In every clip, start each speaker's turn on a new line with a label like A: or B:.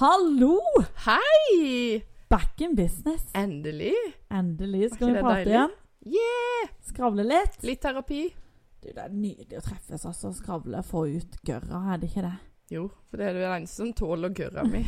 A: Hallo!
B: Hei!
A: Back in business.
B: Endelig.
A: Endelig skal
B: Var
A: vi
B: ikke det
A: prate
B: deilig?
A: igjen.
B: Yeah!
A: Skravle litt.
B: Litt terapi.
A: Du, det er nydelig å treffes, altså. Skravle, få ut gørra, er det ikke det?
B: Jo, for det er du den eneste som tåler gørra mi.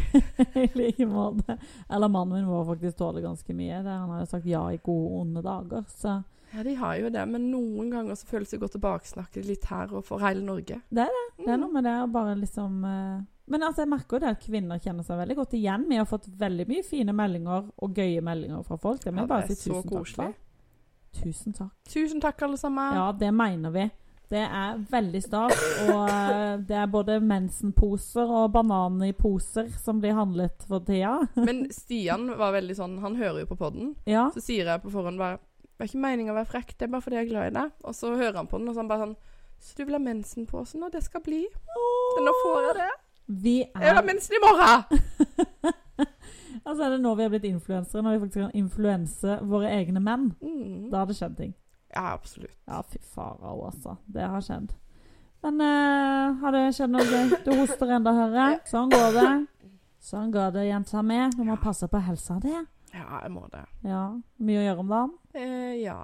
A: I like måte. Eller mannen min må faktisk tåle ganske mye. Det, han har jo sagt ja i gode og onde dager, så
B: Ja, de har jo det, men noen ganger så føles det godt å baksnakke litt her og for hele Norge.
A: Det er det
B: Mm.
A: er noe med det å bare liksom eh, Men altså, jeg merker jo det at kvinner kjenner seg veldig godt igjen. Vi har fått veldig mye fine meldinger og gøye meldinger fra folk. Det må
B: Ja,
A: jeg bare
B: det er
A: si tusen
B: så
A: takk
B: koselig.
A: for. Tusen takk.
B: Tusen takk, alle sammen.
A: Ja, det mener vi. Det er veldig stas, og eh, det er både mensenposer og bananer i poser som blir handlet for tida.
B: Men Stian var veldig sånn Han hører jo på podden.
A: Ja,
B: Så sier jeg på forhånd bare Det er ikke meningen å være frekk, det er bare fordi jeg er glad i deg. Og så hører han på den, og så han bare sånn Så du vil ha mensenposen, og det skal bli? Så nå får jeg det.
A: vi
B: Jeg
A: er
B: vil ha mensen i morgen!
A: Altså er det nå vi er blitt influensere, når vi faktisk kan influense våre egne menn.
B: Mm.
A: Da har det skjedd ting.
B: Ja, absolutt.
A: Ja, fy farao, altså. Det har skjedd. Men eh, har det skjedd noe gøy? Du hoster enda, hører jeg. Sånn går det. Sånn går det, jenta mi. Du må passe på helsa di.
B: Ja, jeg må det.
A: Ja. Mye å gjøre om dagen.
B: Eh, ja.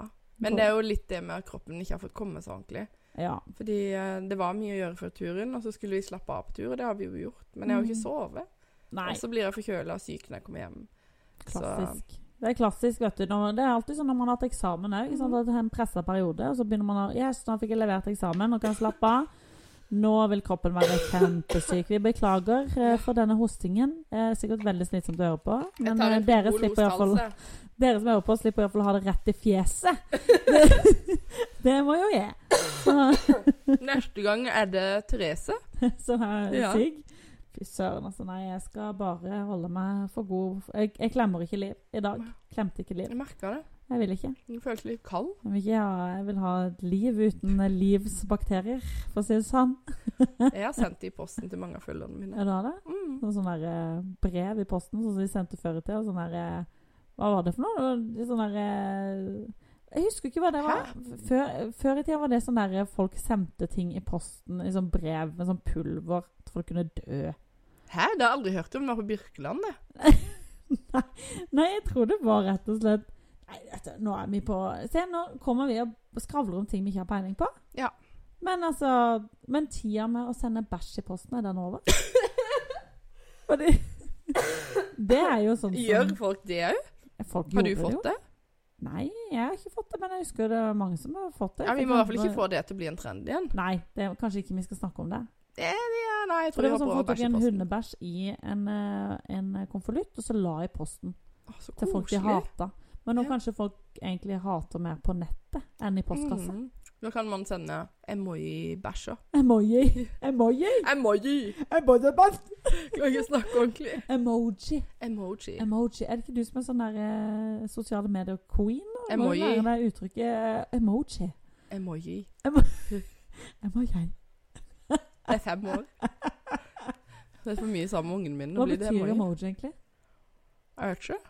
B: Men det er jo litt det med at kroppen ikke har fått komme seg ordentlig.
A: Ja.
B: Fordi eh, det var mye å gjøre før turen, og så skulle vi slappe av på tur, og det har vi jo gjort. Men jeg har jo ikke sovet.
A: Mm. Nei.
B: Og så blir jeg forkjøla og syk når jeg kommer hjem.
A: Klassisk. Det er klassisk, vet du. Når, det er alltid sånn når man har hatt eksamen òg. Det er en pressa periode, og så begynner man å Yes, nå fikk jeg levert eksamen, nå kan jeg slappe av. Nå vil kroppen være kjempesyk. Vi beklager eh, for denne hostingen. Eh, sikkert veldig slitsomt å høre på. Men eh, dere slipper i hvert fall Dere som hører på, slipper i hvert fall å ha det rett i fjeset. Det, det må jo jeg. Så,
B: Neste gang er det Therese.
A: så er jeg
B: Ja.
A: syk. Fy søren, altså. Nei, jeg skal bare holde meg for god Jeg, jeg klemmer ikke liv i dag. Klemte ikke liv.
B: Jeg merka det.
A: Jeg vil ikke.
B: Hun føles litt kald.
A: Jeg vil, ikke ha, jeg vil ha et liv uten eh, livsbakterier, for å si det sånn.
B: Jeg har sendt det i posten til mange av følgerne mine.
A: Er det det?
B: Mm.
A: Noen sånne der, eh, brev i posten sånn som vi sendte før i tida. Sånn der eh, Hva var det for noe? Det var Sånn der eh, Jeg husker ikke hva det var. Før, før i tida var det sånn der eh, folk sendte ting i posten i sånn brev med sånn pulver at folk kunne dø.
B: Hæ, det har jeg aldri hørt om. Det var på Birkeland, det.
A: Nei, jeg tror det var rett og slett Nei, dette, nå er vi på Se, nå kommer vi og skravler om ting vi ikke har peiling på.
B: Ja.
A: Men altså Men tida med å sende bæsj i posten, er den over? Fordi Det er jo sånn som
B: Gjør folk det òg?
A: Folk
B: Har du
A: gjorde
B: fått
A: det?
B: det?
A: jo. Nei, jeg har ikke fått det, men jeg husker det var mange som har fått det.
B: Ja, Vi må i hvert fall ikke få det til å bli en trend igjen.
A: Nei, det er, kanskje ikke vi skal snakke om det.
B: Det, det, nei, jeg
A: For
B: tror
A: det var
B: det var
A: sånn
B: bra å
A: folk tok
B: bæsje i
A: en
B: posten.
A: hundebæsj i en, eh, en konvolutt, og så la i posten
B: Å, så
A: til folk de
B: koselig.
A: hata. Men nå
B: Ja.
A: kanskje folk egentlig hater mer på nettet enn i postkassa.
B: Mhm. Nå kan man sende emoji-bæsjer.
A: Emoji! Emoji!
B: Mm. Emoji!
A: Emoji!
B: Kan ikke snakke ordentlig.
A: Emoji!
B: Emoji.
A: Emoji. Er det ikke du som er sånn der eh, sosiale medier-queen? da? Må du
B: Emoji.
A: lære deg uttrykket eh, emoji.
B: Emoji.
A: Emoji.
B: Det er fem år. Det er for mye sammen med ungene mine. Nå
A: Hva
B: blir det
A: betyr
B: emoji.
A: emoji egentlig?
B: Jeg vet ikke.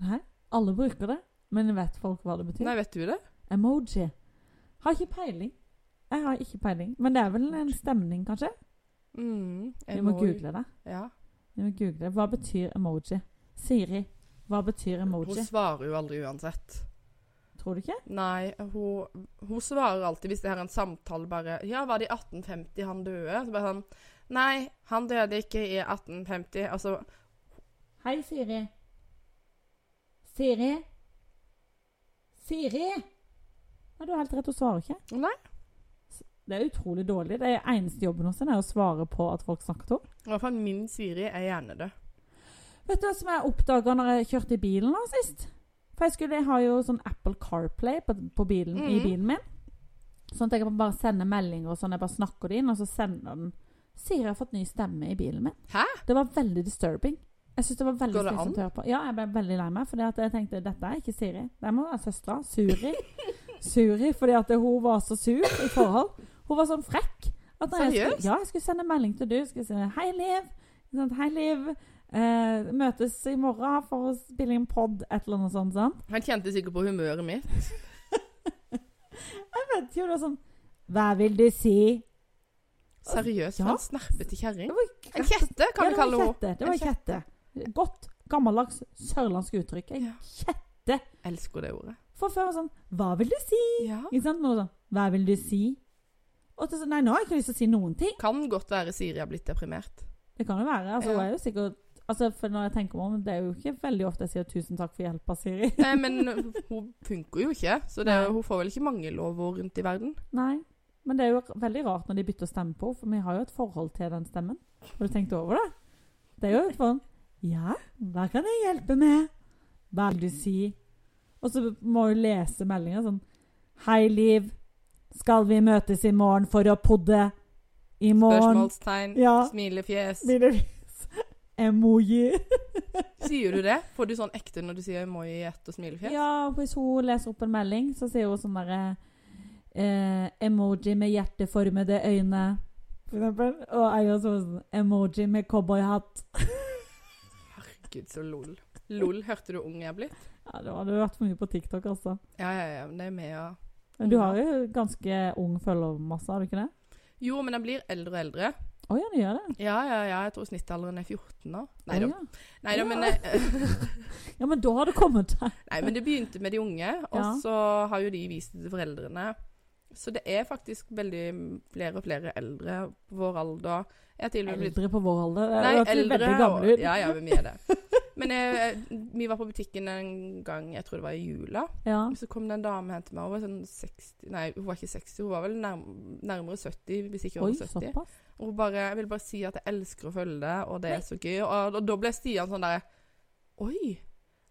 A: Nei, alle bruker det, men vet folk hva det betyr?
B: Nei, vet du det?
A: Emoji. Har ikke peiling. Jeg har ikke peiling. Men det er vel en stemning, kanskje?
B: Mm,
A: Vi må
B: emoji.
A: google det.
B: Ja.
A: Vi må google det. Hva betyr emoji? Siri, hva betyr emoji?
B: Hun svarer jo aldri uansett.
A: Tror du ikke?
B: Nei, hun, hun svarer alltid hvis det her er en samtale bare Ja, var det i 1850 han døde? Så bare sånn Nei, han døde ikke i 1850. Altså
A: Hei, Siri. Siri? Siri? Nei, du har helt rett, hun svarer ikke.
B: Nei.
A: Det er utrolig dårlig. Det er eneste jobben hennes er å svare på at folk snakker om.
B: I hvert fall min Siri er hjernedød.
A: Vet du hva som jeg oppdaga når jeg kjørte i bilen nå sist? For jeg, skulle, jeg har jo sånn Apple CarPlay på, på bilen, i
B: Mhm.
A: bilen min. Sånn at jeg kan bare sende meldinger og sånn. Jeg bare snakker det inn, og så sender den Siri har fått ny stemme i bilen min.
B: Hæ?
A: Det var veldig disturbing. Jeg synes det var veldig
B: Går det
A: slitsomt å høre på. Ja, jeg ble veldig lei meg, fordi at jeg tenkte dette er ikke Siri. Det må være søstera. Suri. Suri, fordi at hun var så sur i forhold. Hun var sånn frekk. At når Jeg
B: Seriøst?
A: skulle, ja, jeg skulle sende melding til du. Jeg skulle si 'Hei, Liv'. Ikke sant? 'Hei, Liv'. Eh, møtes i morgen for å spille inn pod, et eller annet sånt. sant?
B: Han kjente sikkert på humøret mitt.
A: Jeg vet jo det var sånn Hva vil du si?
B: Seriøst,
A: Ja.
B: for en snerpete kjerring.
A: Det var
B: En kjette,
A: Ja,
B: kan vi
A: det var
B: kalle
A: en
B: henne.
A: kjette. Det var
B: En
A: en kjette. Godt, gammeldags sørlandsk uttrykk. En
B: Ja.
A: kjette.
B: Elsker det ordet.
A: For før var det sånn Hva vil du si?
B: Ja.
A: Ikke sant? Nå er det sånn Hva vil du si? Og så, sånn, nei, nå har jeg ikke lyst til å si noen ting.
B: Kan godt være Siri har blitt deprimert.
A: Det kan jo være. Altså,
B: Ja.
A: hun er jo sikkert Altså, for når jeg tenker meg om, det er jo ikke veldig ofte jeg sier 'tusen takk for hjelpa', Siri.
B: Eh, men hun funker jo ikke, så det, er-
A: Nei.
B: hun får vel ikke mange lovord rundt i verden.
A: Nei. Men det er jo veldig rart når de bytter stemme på henne, for vi har jo et forhold til den stemmen. Har du tenkt over det? Det er jo et sånn Ja, hva kan jeg hjelpe med? Hva vil du si? Og så må du lese meldinga sånn Hei, Liv. Skal vi møtes i morgen for å podde? I morgen
B: Spørsmålstegn,
A: Ja.
B: smilefjes.
A: blir det emoji.
B: Sier du det? Får du sånn ekte når du sier emoji, ett og smilefjes?
A: Ja, hvis hun leser opp en melding, så sier hun sånn derre eh, Emoji med hjerteformede øyne, for eksempel. Og jeg gjør sånn emoji med cowboyhatt.
B: Herregud, så lol. Lol, hørte du ung jeg er blitt?
A: Ja, det hadde vært for mye på TikTok, altså.
B: Ja, ja, ja. men Det er med, ja.
A: Men du har jo ganske ung følgermasse, har du ikke det?
B: Jo, men jeg blir eldre og eldre.
A: Å ja, du gjør det.
B: Ja, ja, ja. Jeg tror snittalderen er 14 nå. Nei
A: Å,
B: da.
A: ja.
B: Nei da, men, eh,
A: ja, men da har du kommet deg.
B: nei, men det begynte med de unge, og
A: Ja.
B: så har jo de vist det til foreldrene. Så det er faktisk veldig flere og flere eldre på vår alder. Jeg er til og med blitt
A: Eldre på vår alder.
B: Nei,
A: Det høres
B: eldre
A: veldig gammel
B: og
A: ut.
B: Ja, ja, vi er det. Men jeg, vi var på butikken en gang, jeg tror det var i jula.
A: Ja.
B: Så kom det en dame hen til meg. Hun var sånn 60 Nei, hun var ikke 60, hun var vel nærm- nærmere 70, hvis ikke
A: Oi,
B: over 70.
A: såpass.
B: Og hun bare Jeg vil bare si at jeg elsker å følge det, og det er så gøy. Og, og da ble Stian sånn der Oi!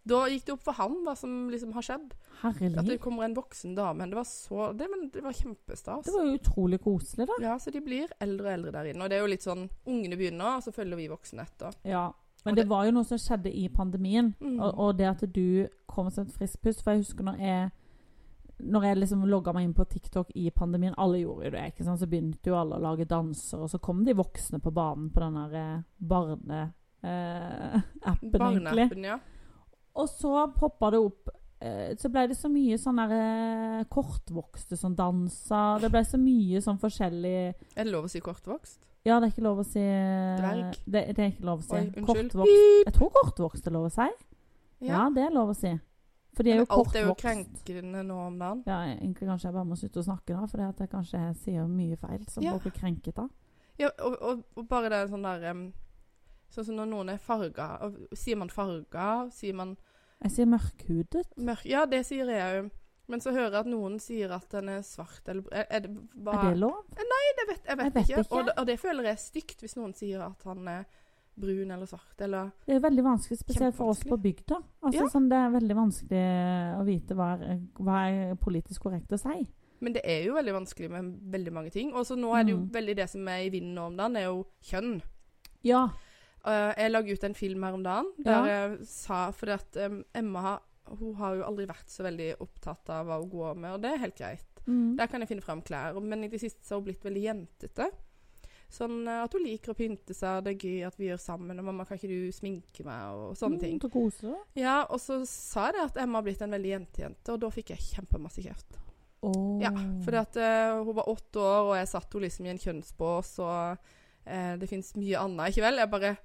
B: Da gikk det opp for han hva som liksom har skjedd. At
A: Herlig.
B: det kommer en voksen dame. Det var så Det, men det var kjempestas.
A: Det var jo utrolig koselig, da.
B: Ja, så de blir eldre og eldre der inne. Og det er jo litt sånn Ungene begynner, og så følger vi voksne etter.
A: Ja. Men det
B: Og det-
A: var jo noe som skjedde i pandemien.
B: Mm.
A: Og, og det at du kom som et friskt pust. For jeg husker når jeg når jeg liksom logga meg inn på TikTok i pandemien Alle gjorde jo det. ikke sant? Så begynte jo alle å lage danser, og så kom de voksne på banen på den der eh, barne-appen, egentlig.
B: Barneappen, ja.
A: Og så poppa det opp eh, Så ble det så mye sånne der, eh, kortvokste som danser. Det ble så mye sånn forskjellig
B: Er det lov å si kortvokst?
A: Ja, det er ikke lov å si eh,
B: Dverg.
A: Det, det er ikke lov å si.
B: Oi, unnskyld.
A: kortvokst. Jeg tror kortvokst er lov å si. Ja,
B: Ja.
A: det er lov å si. For de er jo
B: Men alt
A: kortvokst.
B: er jo krenkende nå om dagen.
A: Ja, egentlig kanskje jeg bare må slutte å snakke da, for jeg kanskje jeg sier mye feil som
B: Ja.
A: folk blir krenket av.
B: Ja, og, og, og bare det sånn der em, Sånn som når noen er farga. og Sier man farga? Sier man
A: Jeg sier mørkhudet.
B: mørk Ja, det sier jeg òg. Men så hører jeg at noen sier at den er svart, eller Er, er det hva
A: Er det lov?
B: Jeg vet, jeg vet,
A: Jeg vet
B: ikke.
A: ikke.
B: Og, det- og det føler jeg er stygt, hvis noen sier at han er brun eller svart, eller
A: Det er jo veldig vanskelig, spesielt for oss på bygda. Altså,
B: Ja.
A: sånn, det er veldig vanskelig å vite hva er, hva er politisk korrekt å si.
B: Men det er jo veldig vanskelig med veldig mange ting. Og så nå er det jo
A: Mm.
B: veldig det som er i vinden nå om dagen, er jo kjønn.
A: Ja.
B: Eh, jeg la ut en film her om dagen
A: Ja.
B: der jeg sa Fordi at em, Emma har- hun har jo aldri vært så veldig opptatt av hva hun går med, og det er helt greit.
A: Mm.
B: Der kan jeg finne fram klær. Men i det siste så har hun blitt veldig jentete. Sånn eh, at hun liker å pynte seg, og det er gøy at vi gjør sammen, og 'mamma, kan ikke du sminke meg?' og sånne ting.
A: Mm, så koselig. da.
B: Ja, og så sa jeg det at Emma har blitt en veldig jentejente, og da fikk jeg kjempemasse kjeft.
A: Åh.
B: Ja, fordi at eh, hun var åtte år, og jeg satt henne liksom i en kjønnsbås, og eh, det fins mye annet, ikke vel? Jeg bare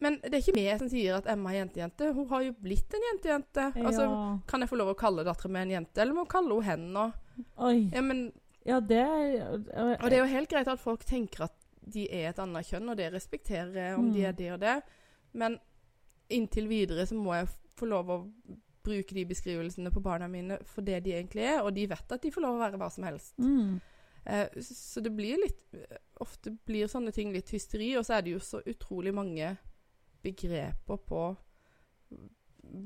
B: Men det er ikke meg som sier at Emma er jentejente. Hun har jo blitt en jentejente. Altså,
A: Ja.
B: kan jeg få lov å kalle dattera mi en jente, eller må jeg kalle henne hen nå?
A: Oi.
B: Ja, men
A: Ja, det er
B: Og det er jo helt greit at folk tenker at de er et annet kjønn, og det respekterer jeg om de
A: Mm.
B: er det og det, men inntil videre så må jeg f- få lov å bruke de beskrivelsene på barna mine for det de egentlig er, og de vet at de får lov å være hva som helst.
A: mm.
B: Eh, s- så det blir litt eh, Ofte blir sånne ting litt hysteri, og så er det jo så utrolig mange begreper på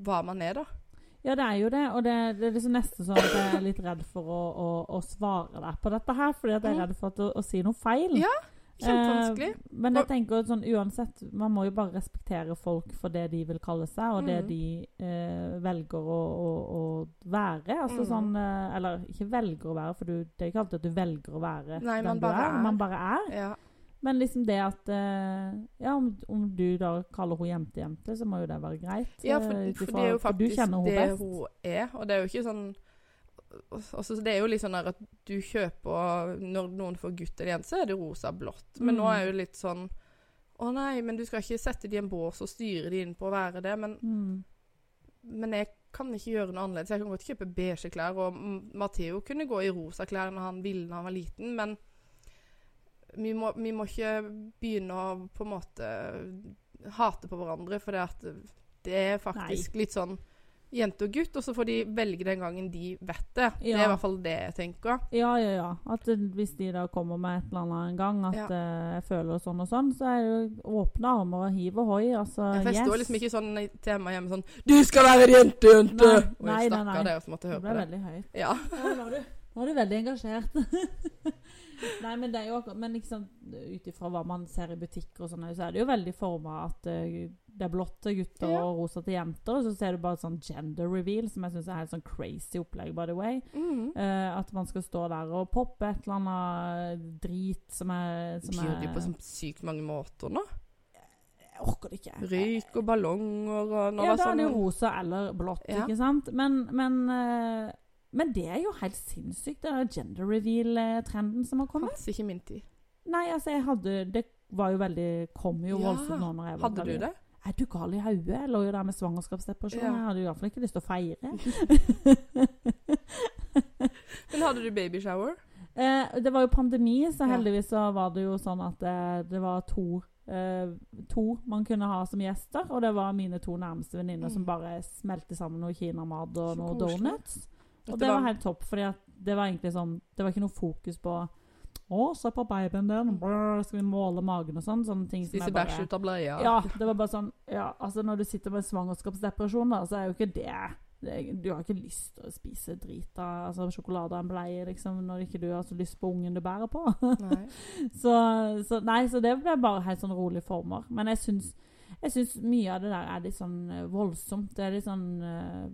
B: hva man er, da.
A: Ja, det er jo det. Og det, det er liksom nesten sånn at jeg er litt redd for å, å, å svare deg på dette her. Fordi at jeg er
B: Mm.
A: redd for at å, å si noe feil.
B: Ja, Kjempevanskelig.
A: Eh, men jeg tenker jo sånn uansett, man må jo bare respektere folk for det de vil kalle seg, og det
B: Mm.
A: de eh, velger å, å, å være. Altså
B: Mm.
A: sånn eh, Eller ikke velger å være, for du, det er ikke alltid at du velger å være
B: Nei, man
A: du
B: bare er.
A: Man bare er.
B: Ja.
A: Men liksom det at eh, Ja, om, om du da kaller henne jentejente, så må jo det være greit.
B: Ja,
A: eh,
B: for,
A: ut
B: for
A: ifra-
B: det er jo
A: for du
B: faktisk
A: kjenner henne
B: det
A: best.
B: hun er, og det er jo ikke sånn altså, så det er jo litt sånn der at du kjøper Når noen får gutt eller jente, så er det rosa og blått. Men nå
A: Mm.
B: er jo litt sånn Å nei, men du skal ikke sette de i en bås og styre de inn på å være det. Men,
A: Mm.
B: men jeg kan ikke gjøre noe annerledes. Jeg kan godt kjøpe beige klær. Og M- Matteo kunne gå i rosa klær når han ville når han var liten, men vi må, vi må ikke begynne å på en måte hate på hverandre, for det, at det er faktisk litt sånn jente og gutt, og så får de velge den gangen de vet det. Det er
A: Ja.
B: i hvert fall det jeg tenker.
A: Ja, ja, ja. At eh, hvis de da kommer med et eller annet en gang, at
B: Ja.
A: eh, jeg føler sånn og sånn, så er det jo åpne armer og hiv og hoi. Altså,
B: Jeg
A: yes.
B: forstår liksom ikke sånn i- til Emma hjemme sånn Du skal være en jente, jente!
A: Nei,
B: Og
A: nei, nei,
B: jeg
A: nei.
B: stakkar dere som måtte
A: Det
B: høre
A: ble
B: på det.
A: veldig høyt.
B: Ja.
A: Nå var du, nå er du veldig engasjert. Nei, men det er jo akkurat Men liksom, ut ifra hva man ser i butikker og sånn, så er det jo veldig forma at eh, det er blått til gutter
B: Ja.
A: og rosa til jenter. Og så ser du bare et sånn gender reveal, som jeg syns er helt sånn crazy opplegg, by the way.
B: Mm.
A: Eh, at man skal stå der og poppe et eller annet drit som er,
B: De
A: som
B: gjør det jo
A: er
B: på så sykt mange måter nå.
A: Jeg orker det ikke. Eh,
B: Røyk og ballonger og nå
A: ja,
B: var
A: da er det jo
B: sånn-
A: rosa eller blått,
B: Ja.
A: ikke sant? Men, men, eh, men det er jo helt sinnssykt, den der gender reveal-trenden som har kommet.
B: Fantes ikke i min tid.
A: Nei, altså, jeg hadde Det var jo veldig Kom jo
B: Ja.
A: voldsomt nå når jeg var
B: Hadde du
A: gravid.
B: det?
A: Er du gal i hodet? Jeg lå jo der med svangerskapsdepresjon.
B: Ja.
A: Jeg hadde jo iallfall ikke lyst til å feire.
B: Men hadde du babyshower?
A: Eh, det var jo pandemi, så
B: Ja.
A: heldigvis så var det jo sånn at eh, det var to eh, to man kunne ha som gjester, og det var mine to nærmeste venninner
B: Mm.
A: som bare smelte sammen noe kinamat og
B: Så
A: noe
B: koselig.
A: donuts. Og det var helt topp, fordi at det var egentlig sånn Det var ikke noe fokus på Å, se på babyen din, brr, skal vi måle magen og sånn? Sånne ting som
B: Spise
A: jeg bare
B: bæsj ut av bleia.
A: Ja, det var bare sånn Ja, altså når du sitter med svangerskapsdepresjon, da, så er jo ikke det, det Du har ikke lyst til å spise drit av altså, sjokolade og en bleie, liksom, når ikke du har så lyst på ungen du bærer på.
B: Nei.
A: Så, så nei, så det ble bare helt sånn rolige former. Men jeg syns, jeg syns mye av det der er litt sånn eh, voldsomt. Det er litt sånn eh,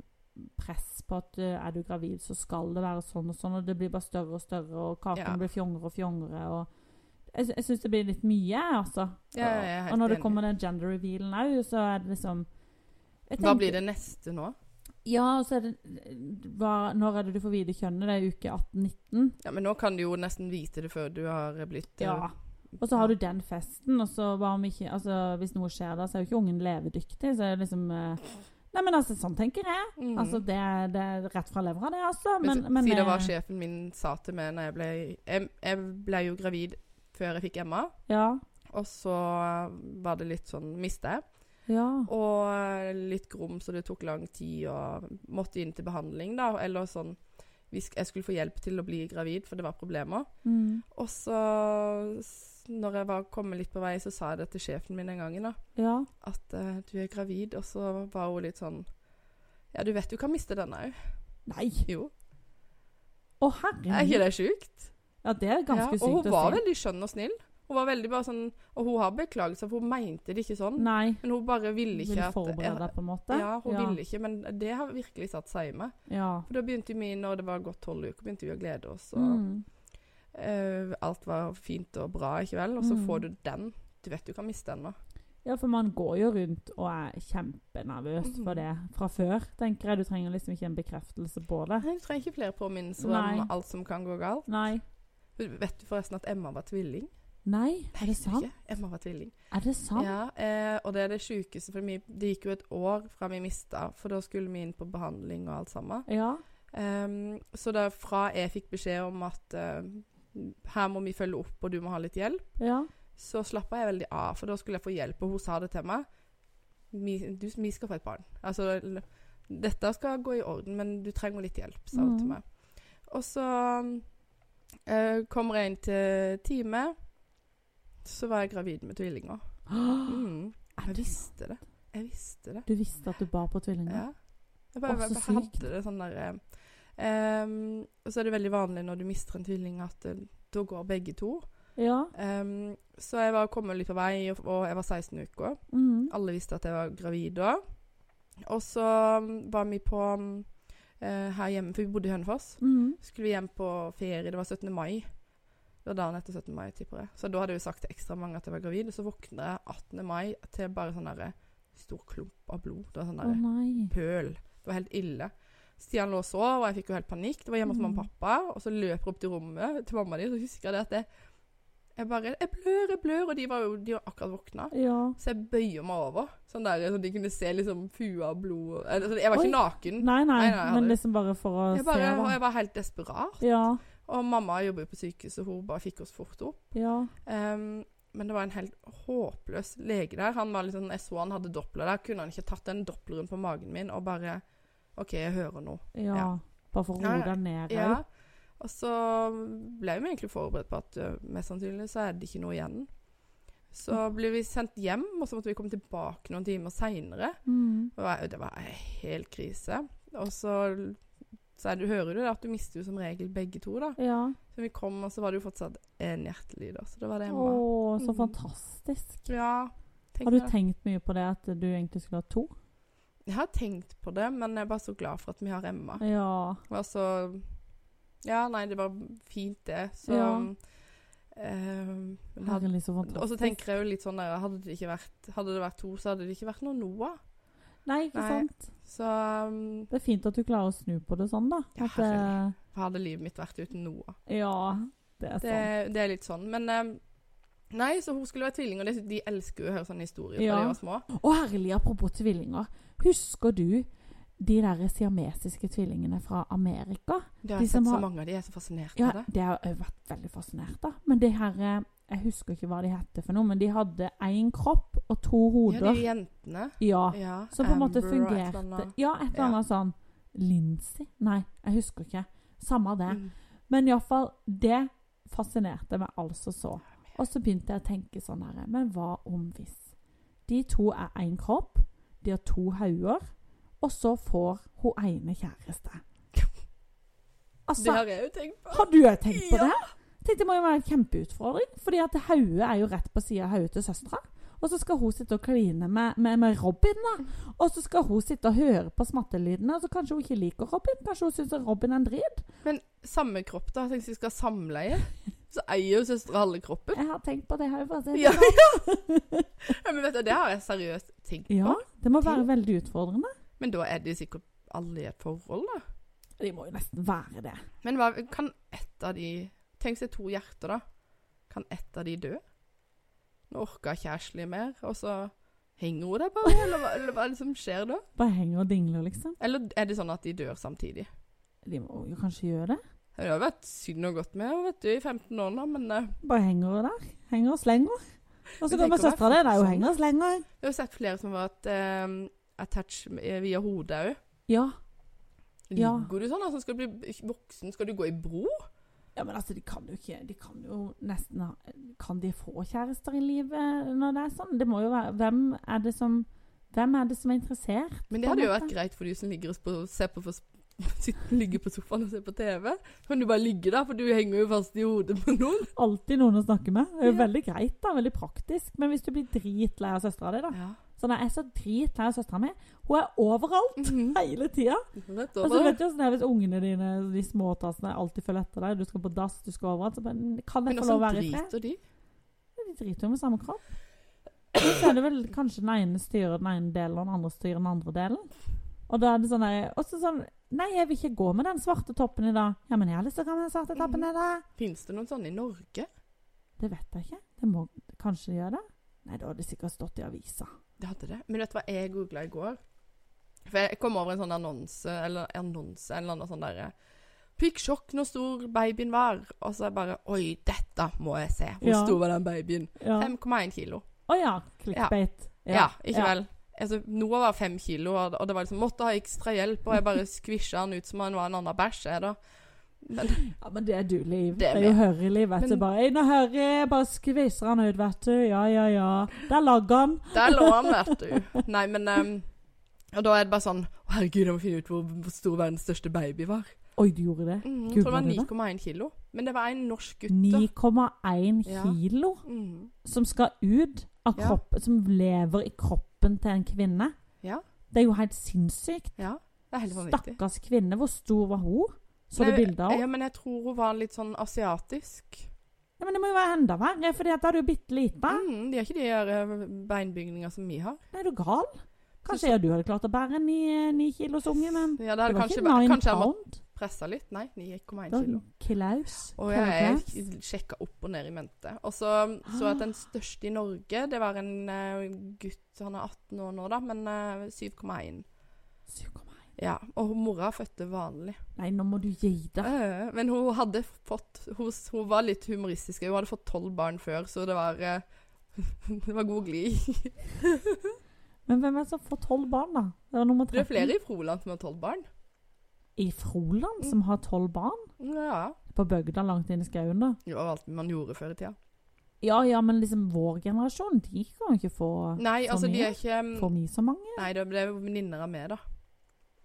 A: press på at eh, er du gravid, så skal det være sånn og sånn, og det blir bare større og større, og kakene
B: Ja.
A: blir fjongere og fjongere, og jeg, sy- jeg syns det blir litt mye, altså.
B: Ja, jeg er helt
A: og når det
B: enig.
A: kommer den gender revealen òg, så er det liksom jeg
B: Hva
A: tenker-
B: blir det neste nå?
A: Ja, og så er det hva, Når er det du får vite kjønnet? Det er uke 18-19.
B: Ja, men nå kan du jo nesten vite det før du har blitt eh,
A: Ja. Og så har du den festen, og så hva om ikke altså, Hvis noe skjer da, så er jo ikke ungen levedyktig. Så er det liksom eh, Nei, men altså, sånn tenker jeg.
B: Mhm.
A: Altså, det, er- det er rett fra levra, det, altså. Men,
B: Men,
A: men,
B: si det
A: eh,
B: var sjefen min sa til meg når jeg ble Jeg, jeg ble jo gravid før jeg fikk Emma,
A: Ja.
B: og så var det litt sånn miste.
A: Ja.
B: Og litt grom, så det tok lang tid og måtte inn til behandling, da. Eller sånn hvis Jeg skulle få hjelp til å bli gravid, for det var problemer.
A: Mm,
B: Og så, s- når jeg var kommet litt på vei, så sa jeg det til sjefen min den gangen, da.
A: ja.
B: At eh, du er gravid. Og så var hun litt sånn Ja, du vet du kan miste denne òg.
A: Nei.
B: Jo.
A: Å,
B: Er ikke
A: herregud.
B: det sjukt?
A: Ja, det er
B: Ja,
A: ganske
B: og
A: sykt
B: hun
A: å si.
B: var veldig skjønn og snill. Hun var veldig bare sånn Og hun har beklaget seg, for hun mente det ikke sånn.
A: Nei.
B: Men hun bare ville ikke
A: Ville
B: at
A: forberede deg, på en måte?
B: Ja, hun ville ikke, men det har virkelig satt seg i meg.
A: Ja.
B: For da begynte vi, når det var gått tolv uker, begynte vi å glede oss, og
A: Mm.
B: eh, alt var fint og bra, ikke vel? Og så
A: Mm.
B: får du den. Du vet du kan miste den nå.
A: Ja, for man går jo rundt og er kjempenervøs
B: Mhm.
A: for det fra før, tenker jeg. Du trenger liksom ikke en bekreftelse på det.
B: Nei, Du trenger ikke flere påminnelser
A: Nei.
B: om alt som kan gå galt.
A: Nei.
B: Vet du forresten at Emma var tvilling?
A: Nei,
B: Nei,
A: er det
B: visste du
A: sant?
B: ikke? Emma var tvilling.
A: Er det sant?
B: Ja, eh, og det er det sjukeste, for vi- det gikk jo et år fra vi mista, for da skulle vi inn på behandling og alt sammen.
A: Ja.
B: Ehm, så da fra jeg fikk beskjed om at eh, her må vi følge opp, og du må ha litt hjelp,
A: Ja.
B: så slappa jeg veldig av, for da skulle jeg få hjelp, og hun sa det til meg. Vi, du, vi skal få et barn. Altså, l- dette skal gå i orden, men du trenger litt hjelp, sa hun
A: Mhm.
B: til meg. Og så eh, kommer jeg inn til time, så var jeg gravid med tvillinger. Mm.
A: Er
B: Jeg
A: det sant?
B: visste det. Jeg visste det.
A: Du visste at du bar på tvillinger?
B: Ja. Jeg bare,
A: Å, så
B: bare hadde
A: sykt.
B: det sånn derre Og så er det veldig vanlig når du mister en tvilling, at eh, da går begge to.
A: Ja.
B: Ehm, så jeg var kommet litt på vei, og, og jeg var 16 uker.
A: Mhm.
B: Alle visste at jeg var gravid da. Og så mm, var vi på mm, eh, her hjemme, for vi bodde i Hønefoss.
A: Mhm.
B: Skulle vi hjem på ferie, det var 17. mai. Det var dagen etter 17. mai, tipper jeg. Så da hadde jeg jo sagt til ekstra mange at jeg var gravid. Og så våkner jeg 18. mai til bare sånn derre stor klump av blod. Det var sånn
A: Å
B: derre
A: nei.
B: pøl. Det var helt ille. Stian lå og sov, og jeg fikk jo helt panikk. Det var hjemme hos
A: Mm.
B: mamma og pappa. Og så løper jeg opp til rommet til mamma di, og så husker jeg det at jeg, jeg bare Jeg blør, jeg blør. Og de var jo de var akkurat våkna.
A: Ja.
B: Så jeg bøyer meg over, sånn der, så de kunne se liksom fua og blod eller, så Jeg var
A: Oi.
B: ikke naken.
A: Nei, nei,
B: Nei, nei, jeg
A: men
B: hadde-
A: liksom bare for å
B: Jeg, bare, og
A: se,
B: jeg var helt desperat.
A: da. Ja.
B: Og mamma jobber jo på sykehuset, og hun bare fikk oss fort opp.
A: Ja.
B: Ehm, men det var en helt håpløs lege der. Han var litt sånn, Jeg så han hadde doppler der. Kunne han ikke tatt den doppleren på magen min og bare OK, jeg hører noe.
A: Ja.
B: Ja.
A: Bare for å
B: Nei,
A: roe deg ned.
B: Ja.
A: Ja.
B: Og så ble vi egentlig forberedt på at ø, mest sannsynlig så er det ikke noe igjen. Så
A: Mm.
B: ble vi sendt hjem, og så måtte vi komme tilbake noen timer seinere.
A: Mm.
B: Det var helt krise. Og så, så er det, hører du det at du mister jo som regel begge to, da.
A: ja.
B: Så vi kom, og så var det jo fortsatt en hjertelyd. da, Så det var det
A: Å,
B: Emma.
A: så
B: Mm.
A: fantastisk.
B: Ja,
A: Har du
B: tenker jeg.
A: tenkt mye på det at du egentlig skulle ha to?
B: Jeg har tenkt på det, men jeg er bare så glad for at vi har Emma.
A: Ja.
B: Og så Ja, nei, det var fint, det. Så
A: Ja.
B: eh, men hadde,
A: Herlig, så fantastisk.
B: Og så tenker jeg jo litt sånn der Hadde det ikke vært, hadde det vært to, så hadde det ikke vært noe Noah.
A: Nei, ikke
B: Nei.
A: sant.
B: Så um,
A: Det er fint at du klarer å snu på det sånn, da.
B: Ja,
A: At, eh,
B: hva hadde livet mitt vært uten Noah?
A: ja det er
B: Det,
A: sant.
B: det er litt sånn. Men eh, Nei, så hun skulle være tvilling, og det, de elsker jo å høre sånne historier fra
A: Ja.
B: de var små.
A: Og herlig, apropos tvillinger. Husker du de der siamesiske tvillingene fra Amerika?
B: Det har
A: De
B: jeg
A: som
B: sett så
A: har-
B: mange av de, jeg er så fascinert
A: Ja,
B: av det.
A: det har jeg vært veldig fascinert av. Men det her eh, Jeg husker ikke hva de hette for noe, men de hadde én kropp og to
B: Ja, de
A: hoder.
B: jentene.
A: Ja.
B: Ja,
A: Som på en måte
B: Amber og et eller
A: fungerte
B: annet.
A: Ja, et eller
B: Ja.
A: annet sånn Lindsay? Nei, jeg husker ikke. Samme det.
B: Mm.
A: Men iallfall, det fascinerte meg altså så. Og så begynte jeg å tenke sånn her Men hva om hvis De to er én kropp, de har to hauger, og så får hun ene kjæreste.
B: Det
A: Altså,
B: har jeg jo tenkt på.
A: har du òg tenkt på
B: Ja.
A: det? Tenkte Det må jo være en kjempeutfordring, fordi at hodet er jo rett på sida av hodet til søstera. Og så skal hun sitte og kline med, med, med Robin, da. Og så skal hun sitte og høre på smattelydene. Og så kanskje hun ikke liker Robin. Kanskje hun syns Robin er en drit.
B: Men samme kropp, da? Tenk hvis vi skal ha samleie. Så eier jo søstera halve kroppen.
A: Jeg har tenkt på det her. Bare,
B: Ja, Ja, men vet du, Det har jeg seriøst tenkt
A: Ja,
B: på.
A: det må være veldig utfordrende.
B: Men da er de sikkert alle i et forhold, da.
A: De må jo nesten være det.
B: Men hva, kan ett av de Tenk seg to hjerter, da. Kan ett av de dø? Nå orker ikke Ashley mer, og så henger hun der bare? Eller hva, eller hva er det som skjer da?
A: Bare henger og dingler, liksom.
B: Eller er det sånn at de dør samtidig?
A: De må jo kanskje gjøre det.
B: Det har jo vært synd og godt med henne vet du, i 15 år nå, men eh,
A: Bare henger og der. Henger og slenger. Og så
B: Men
A: kommer
B: tenk å være
A: søstera di. Det er jo
B: sånn.
A: henger og slenger.
B: jeg har jo sett flere som har vært eh, attached eh, via hodet òg.
A: Ja. Ja.
B: Ligger du sånn? Altså, skal du bli voksen? Skal du gå i bro?
A: ja, men altså, de kan jo ikke De kan jo nesten ha Kan de få kjærester i livet når det er sånn? Det må jo være Hvem er det som hvem er det som er interessert?
B: Men
A: På
B: det hadde jo
A: en
B: vært greit for de som ligger og sp- og ser på for Sitter, ligger på sofaen og ser på TV. Kan du bare ligge der, for du henger jo fast i hodet på noen.
A: Alltid noen å snakke med. Det er jo
B: Ja.
A: Veldig greit, da. Veldig praktisk. Men hvis du blir dritlei av søstera di, da
B: Ja.
A: Sånn, jeg er så dritlei av søstera mi. Hun er overalt
B: Mhm.
A: hele tida.
B: Rett
A: Og så
B: over.
A: vet du hvordan det er hvis ungene dine de småtassene, alltid følger etter deg. Du skal på dass, du skal overalt. Så bare, kan jeg
B: Men
A: få lov å
B: også
A: være i fred?
B: driter de.
A: De driter jo med samme kropp. Men Så er det vel kanskje den ene styrer den ene delen, og den andre styrer den andre delen. Og da er det sånn der, og så sånn Nei, jeg vil ikke gå med den svarte toppen i dag. Ja, men jeg har lyst til å gå med den svarte toppen
B: Mhm.
A: i dag.
B: Fins det noen sånne i Norge?
A: Det vet jeg ikke. Det må kanskje de gjøre det. Nei, da hadde det sikkert stått i avisa.
B: Det hadde det. Men vet du hva jeg googla i går? For jeg kom over en sånn annonse, eller annonse, en eller annen sånn derre Fikk sjokk når stor babyen var. Og så er jeg bare Oi, dette må jeg se. Hvor
A: Ja.
B: stor var den babyen?
A: Ja.
B: 5,1 kilo.
A: Å ja. Clickbait.
B: Ja, ikke vel. Altså, Noah var fem kilo, og og det var liksom måtte ha ekstra hjelp. Og jeg bare skvisja han ut som han var en annen bæsj. jeg da. Men
A: Ja, men det er du, Liv.
B: Det
A: Det
B: er
A: er, jo Harry, Liv. Vet
B: Men-
A: du. Bare inn og Harry, bare skviser han ut, vet du. Ja, ja, ja. Der lagde han.
B: der lå han, vet du. Nei, men em, Og da er det bare sånn Å, herregud, jeg må finne ut hvor, hvor stor verdens største baby var.
A: Oi, du gjorde det.
B: Mm, jeg
A: Gud,
B: tror det
A: var det det?
B: var 9,1 kilo. Men det var en norsk gutt. da.
A: 9,1
B: Ja.
A: kilo
B: Mm.
A: som skal ut av
B: Ja.
A: kroppen, som lever i kroppen til en kvinne.
B: Ja.
A: Det er jo helt sinnssykt.
B: Ja. Det er helt vanvittig.
A: Stakkars kvinne. Hvor stor var hun? Så du
B: Nei,
A: bilder av henne?
B: Ja, men jeg tror hun var litt sånn asiatisk.
A: Ja, men det må jo være enda verre, for da er du jo bitte liten.
B: Mm, de har ikke de der eh, beinbygninger som vi har.
A: Er du gal? Kanskje jeg og du hadde klart å bære ni, ni kilos unge, men
B: Ja, det
A: det
B: hadde
A: var
B: kanskje
A: ikke
B: vært
A: nine
B: Kanskje jeg måtte
A: pound.
B: presse litt. Nei, 9,1
A: Det var
B: kilo.
A: Klaus.
B: Og
A: Klaus.
B: jeg sjekka opp og ned i mente. Og så så jeg at den største i Norge, det var en eh, gutt Han er 18 år nå, da, men eh, 7,1.
A: 7,1.
B: Ja. Og hun mora fødte vanlig.
A: Nei, nå må du gi deg.
B: Eh, Men hun hadde fått hun, hun var litt humoristisk. Hun hadde fått tolv barn før, så det var eh, Det var god glid.
A: Men hvem er det som får tolv barn, da? Det var nummer 13.
B: Det er flere Mm. i Froland som har tolv barn.
A: I Froland som har tolv barn?
B: Ja.
A: På bygda langt inn i skauen, da?
B: Det var alt man gjorde før i tida.
A: Ja ja, men liksom vår generasjon, de kan jo ikke få
B: Nei,
A: for
B: altså, de
A: mye?
B: er ikke
A: For mye så mange?
B: Nei, det ble venninner av meg, da.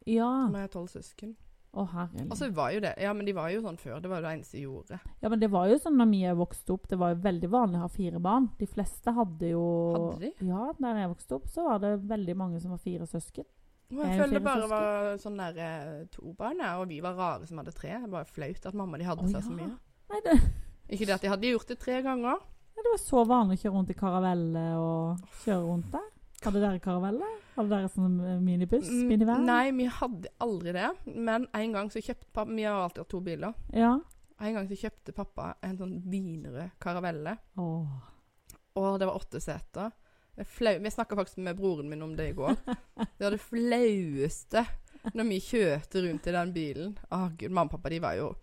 A: Ja.
B: Som er tolv søsken.
A: Å, herregud.
B: Og så var jo det Ja, men de var jo sånn før. Det var jo det eneste de gjorde.
A: ja, men det var jo sånn da Mia vokste opp, det var jo veldig vanlig å ha fire barn. De fleste hadde jo
B: Hadde de?
A: Ja, der jeg vokste opp, så var det veldig mange som var fire søsken.
B: Og
A: Jeg er
B: jeg
A: jo
B: føler
A: fire
B: det
A: søsken.
B: bare var sånn der eh, to barn, ja, og vi var rare som hadde tre. Det var flaut at mamma og de hadde
A: Å,
B: seg så
A: ja.
B: mye.
A: Nei, det,
B: Ikke det at de hadde gjort det tre ganger.
A: det var så vanlig å kjøre rundt i karavelle og kjøre rundt der. Hadde dere karavelle? Hadde dere sånn eh, minibuss?
B: Mm,
A: Minivan?
B: Nei, vi hadde aldri det. Men en gang så kjøpte pappa Vi har alltid hatt to biler.
A: Ja.
B: En gang så kjøpte pappa en sånn vinrød karavelle,
A: Åh.
B: og det var åtte seter. Det er flau. Vi snakka faktisk med broren min om det i går. Det var det flaueste når vi kjørte rundt i den bilen. Å, gud, Mamma og pappa, de var jo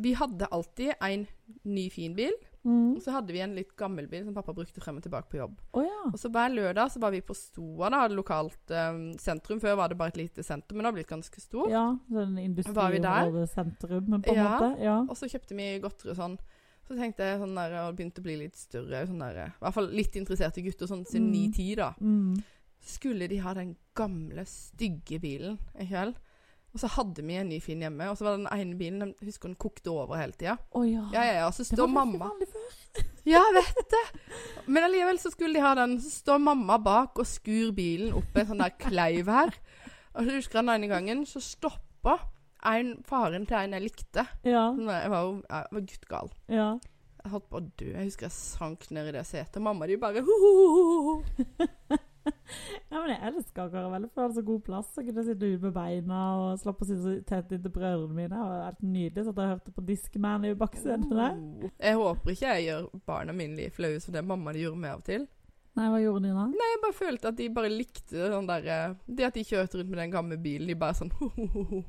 B: Vi hadde alltid en ny, fin bil,
A: Mm.
B: og så hadde vi en litt gammel bil som pappa brukte frem og tilbake på jobb.
A: Å ja.
B: Og så hver lørdag så var vi på Stoa, da, lokalt eh, sentrum. Før var det bare et lite senter, men det har blitt ganske stort.
A: Ja, sånn
B: Var vi der?
A: industriområdesentrum, på en
B: Ja.
A: måte. Ja.
B: Og så kjøpte vi godteri og sånn. Så tenkte jeg sånn der, og begynte å bli litt større, sånn der, i hvert fall litt interesserte gutter, sånn siden
A: Mm.
B: 9-10 da.
A: Mm.
B: Skulle de ha den gamle, stygge bilen en kveld? Og så hadde vi en ny fin hjemme, og så var den ene bilen, den, husker hun kokte over hele tida.
A: Å ja.
B: Ja, ja, ja, så
A: Det var
B: står
A: veldig
B: mamma.
A: vanlig før.
B: Ja, jeg vet det. Men allikevel så skulle de ha den, så står mamma bak og skur bilen opp en sånn der kleiv her. Og så husker jeg den ene gangen, så stoppa en faren til en jeg likte. Sånn
A: Ja.
B: Jeg var jo jeg var guttgal.
A: ja.
B: Jeg holdt på å dø. Jeg husker jeg sank ned i det setet. Mamma de bare «Hohohoho».
A: Ja, men jeg elsker karavelle, for jeg hadde så god plass. Jeg kunne sitte ute med beina og slapp å sitte så tett inntil brødrene mine. Det var helt nydelig. Så at jeg hørte på Discman
B: Mm.
A: i baksetet der.
B: Jeg håper ikke jeg gjør barna mine liv flaue som det mamma de gjorde meg av og til.
A: Nei, hva gjorde de da?
B: Jeg bare følte at de bare likte sånn der, eh, det at de kjørte rundt med den gamle bilen. De bare sånn «Hohohoho».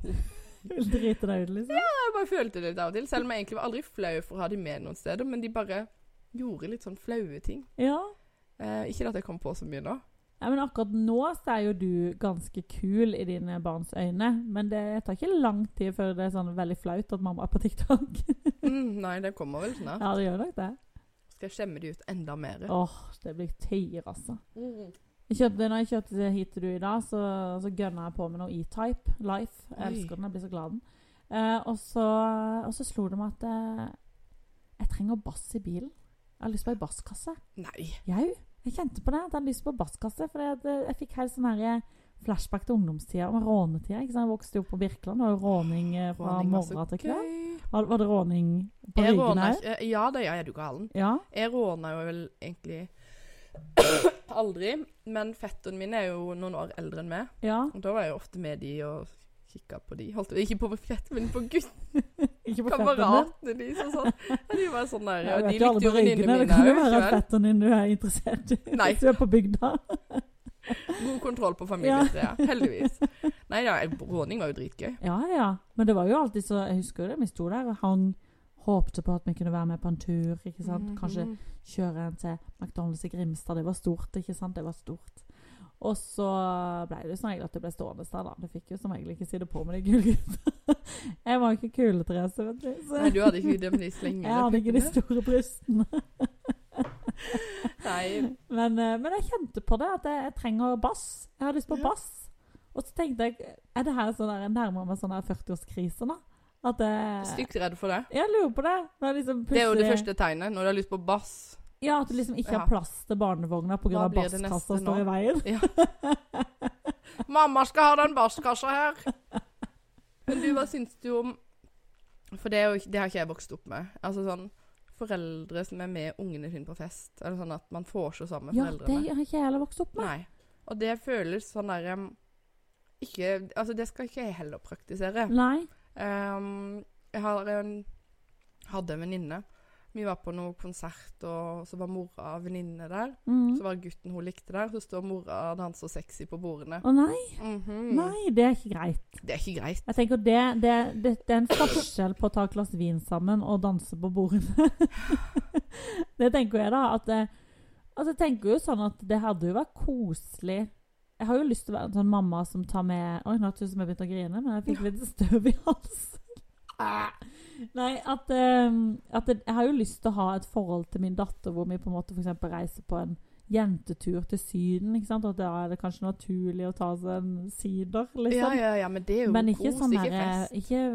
A: Vil drite deg ut, liksom?
B: Jeg bare følte det litt av og til, selv om jeg egentlig var aldri flau for å ha de med noen steder. Men de bare gjorde litt sånn flaue ting.
A: Ja.
B: Eh, ikke at jeg kom på så mye nå.
A: ja. Men akkurat nå så er jo du ganske kul i dine barns øyne. Men det tar ikke lang tid før det er sånn veldig flaut at mamma er på TikTok.
B: Mm, nei, det kommer vel snart.
A: ja, det gjør nok det.
B: Skal jeg skjemme de ut enda mer.
A: Åh, det blir tøyer, altså.
B: Mm.
A: Jeg kjøpte, når jeg kjøpte hit til du i dag, så, så gønna jeg på med noe E-Type Life. Jeg
B: Oi.
A: elsker den, jeg blir så glad av den. Eh, og, så, og så slo det meg at eh, jeg trenger bass i bilen. Jeg har lyst på ei basskasse.
B: Nei.
A: Jau, jeg kjente på det. at Jeg hadde lyst på basskasse. For jeg fikk helt sånn her eh, flashback til ungdomstida og rånetida. ikke sant? Jeg vokste jo opp på Birkeland, det var jo råning eh, fra
B: Råning var så
A: morgen til kveld.
B: gøy.
A: Var, var det råning på
B: Jeg
A: Ryggen
B: råna
A: òg?
B: ikke eh, Ja da, ja, er du galen.
A: Ja.
B: Jeg råna jo vel egentlig aldri, men fetteren min er jo noen år eldre enn meg.
A: ja.
B: Og da var jeg jo ofte med de og kikka på de. Holdt, ikke på fetteren, men på gutt-
A: Ikke på fettene.
B: kameratene de som sånn. Ja, de var sånn der,
A: Ja,
B: og
A: vet
B: de
A: jo alle
B: likte jo
A: på
B: venninnene
A: ryggene.
B: mine
A: Det kan jo
B: òg,
A: være
B: ikke
A: at
B: vel?
A: fetteren din du er interessert i
B: Nei.
A: hvis du er på bygda.
B: God kontroll på familietreet, heldigvis. Nei da, råning var jo dritgøy.
A: Ja, ja. Men det var jo alltid så Jeg husker jo det, vi sto der og hang. Håpte på at vi kunne være med på en tur. ikke sant? Kanskje
B: Mhm.
A: kjøre en til McDonald's i Grimstad. Det var stort, ikke sant? Det var stort. Og så ble det jo som regel at det ble stående der, da. Du fikk jo som regel ikke si det på med de kule gutta. Jeg var jo ikke kule, Therese, vet du. Så
B: Nei, du hadde ikke det med de slengene.
A: jeg hadde ikke de
B: puppene.
A: store brystene.
B: Nei.
A: Men, eh, men jeg kjente på det, at jeg, jeg trenger bass. Jeg har lyst på
B: Ja.
A: bass. Og så tenkte jeg Er det her sånn der, jeg nærmer meg sånn der 40-årskrise nå? At jeg,
B: Stygt redd for det.
A: jeg lurer på det. Når jeg liksom
B: Det er jo det
A: plutselig-
B: første tegnet, når du har lyst på bass.
A: Ja, At du liksom ikke
B: Ja.
A: har plass til barnevogna pga.
B: Hva blir det
A: basskassa
B: neste nå?
A: står i veien.
B: Mamma skal ha den basskassa her. Men du, hva syns du om For det, er jo, ikke- det har ikke jeg vokst opp med. Altså sånn Foreldre som er med ungene sine på fest. Eller sånn at man får seg sammen med
A: Ja, det
B: foreldrene.
A: har ikke jeg heller vokst opp med.
B: Nei. Og det føles sånn der um, Ikke Altså, det skal ikke jeg heller praktisere.
A: Nei.
B: Ehm, jeg har en, hadde en venninne. Vi var på noe konsert, og så var mora og venninne der.
A: Mm.
B: Så var gutten hun likte der. Så står mora og danser sexy på bordene.
A: Å nei,
B: Mhm.
A: nei, det er ikke greit.
B: Det er ikke greit.
A: Jeg tenker det, det, det, det er en forskjell på å ta et glass vin sammen og danse på bordene. det tenker jeg, da. At det, altså jeg tenker jo sånn at det hadde jo vært koselig Jeg har jo lyst til å være en sånn mamma som tar med Oi, nå tror jeg som jeg begynte å grine, men jeg fikk litt støv i halsen. Ah. Nei, at, eh, at det, jeg har jo lyst til å ha et forhold til min datter hvor vi på en måte for eksempel reiser på en jentetur til Syden. ikke sant? Og da er det kanskje naturlig å ta seg en sider, liksom.
B: Ja, ja, ja, men det er jo
A: Men ikke
B: kos,
A: sånn
B: ikke
A: her
B: fest.
A: Ikke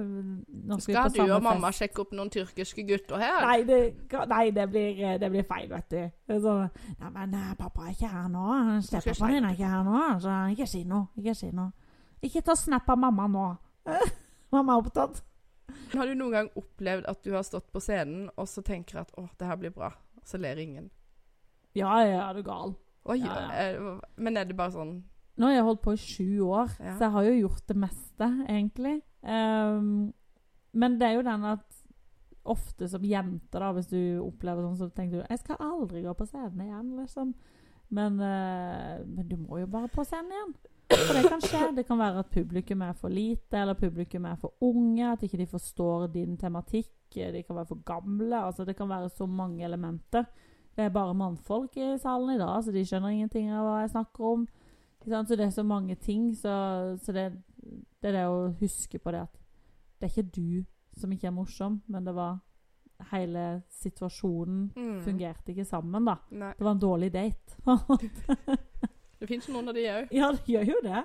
A: nå skal,
B: Skal
A: vi på
B: du
A: samme
B: og mamma
A: fest.
B: sjekke opp noen tyrkiske gutter her?
A: Nei, det, nei det, blir, eh, det blir feil, vet du. Det er sånn Nei, men eh, pappa er ikke her nå. Stepappaen din er ikke her nå. Så ikke si noe. Ikke si noe. Ikke ta snap av mamma nå. mamma er opptatt.
B: Har du noen gang opplevd at du har stått på scenen og så tenker at 'å, det her blir bra', og så ler ingen?
A: Ja, ja, er du gal.
B: Oi,
A: Ja, ja.
B: eh, Men er det bare sånn
A: Nå har jeg holdt på i sju år,
B: Ja.
A: så jeg har jo gjort det meste, egentlig. Ehm, men det er jo den at ofte som jente, da, hvis du opplever sånn, så tenker du 'Jeg skal aldri gå på scenen igjen', liksom. Men, eh, men du må jo bare på scenen igjen. For det kan skje. Det kan være at publikum er for lite, eller publikum er for unge. At ikke de forstår din tematikk. eh, De kan være for gamle. altså Det kan være så mange elementer. Det er bare mannfolk i salen i dag, så de skjønner ingenting av hva jeg snakker om. Ikke sant? Så det er så mange ting, så, så det, det er det å huske på det at det er ikke du som ikke er morsom, men det var hele situasjonen
B: mm,
A: fungerte ikke sammen, da.
B: Nei.
A: Det var en dårlig date.
B: Det fins noen av de òg.
A: ja, det gjør jo det.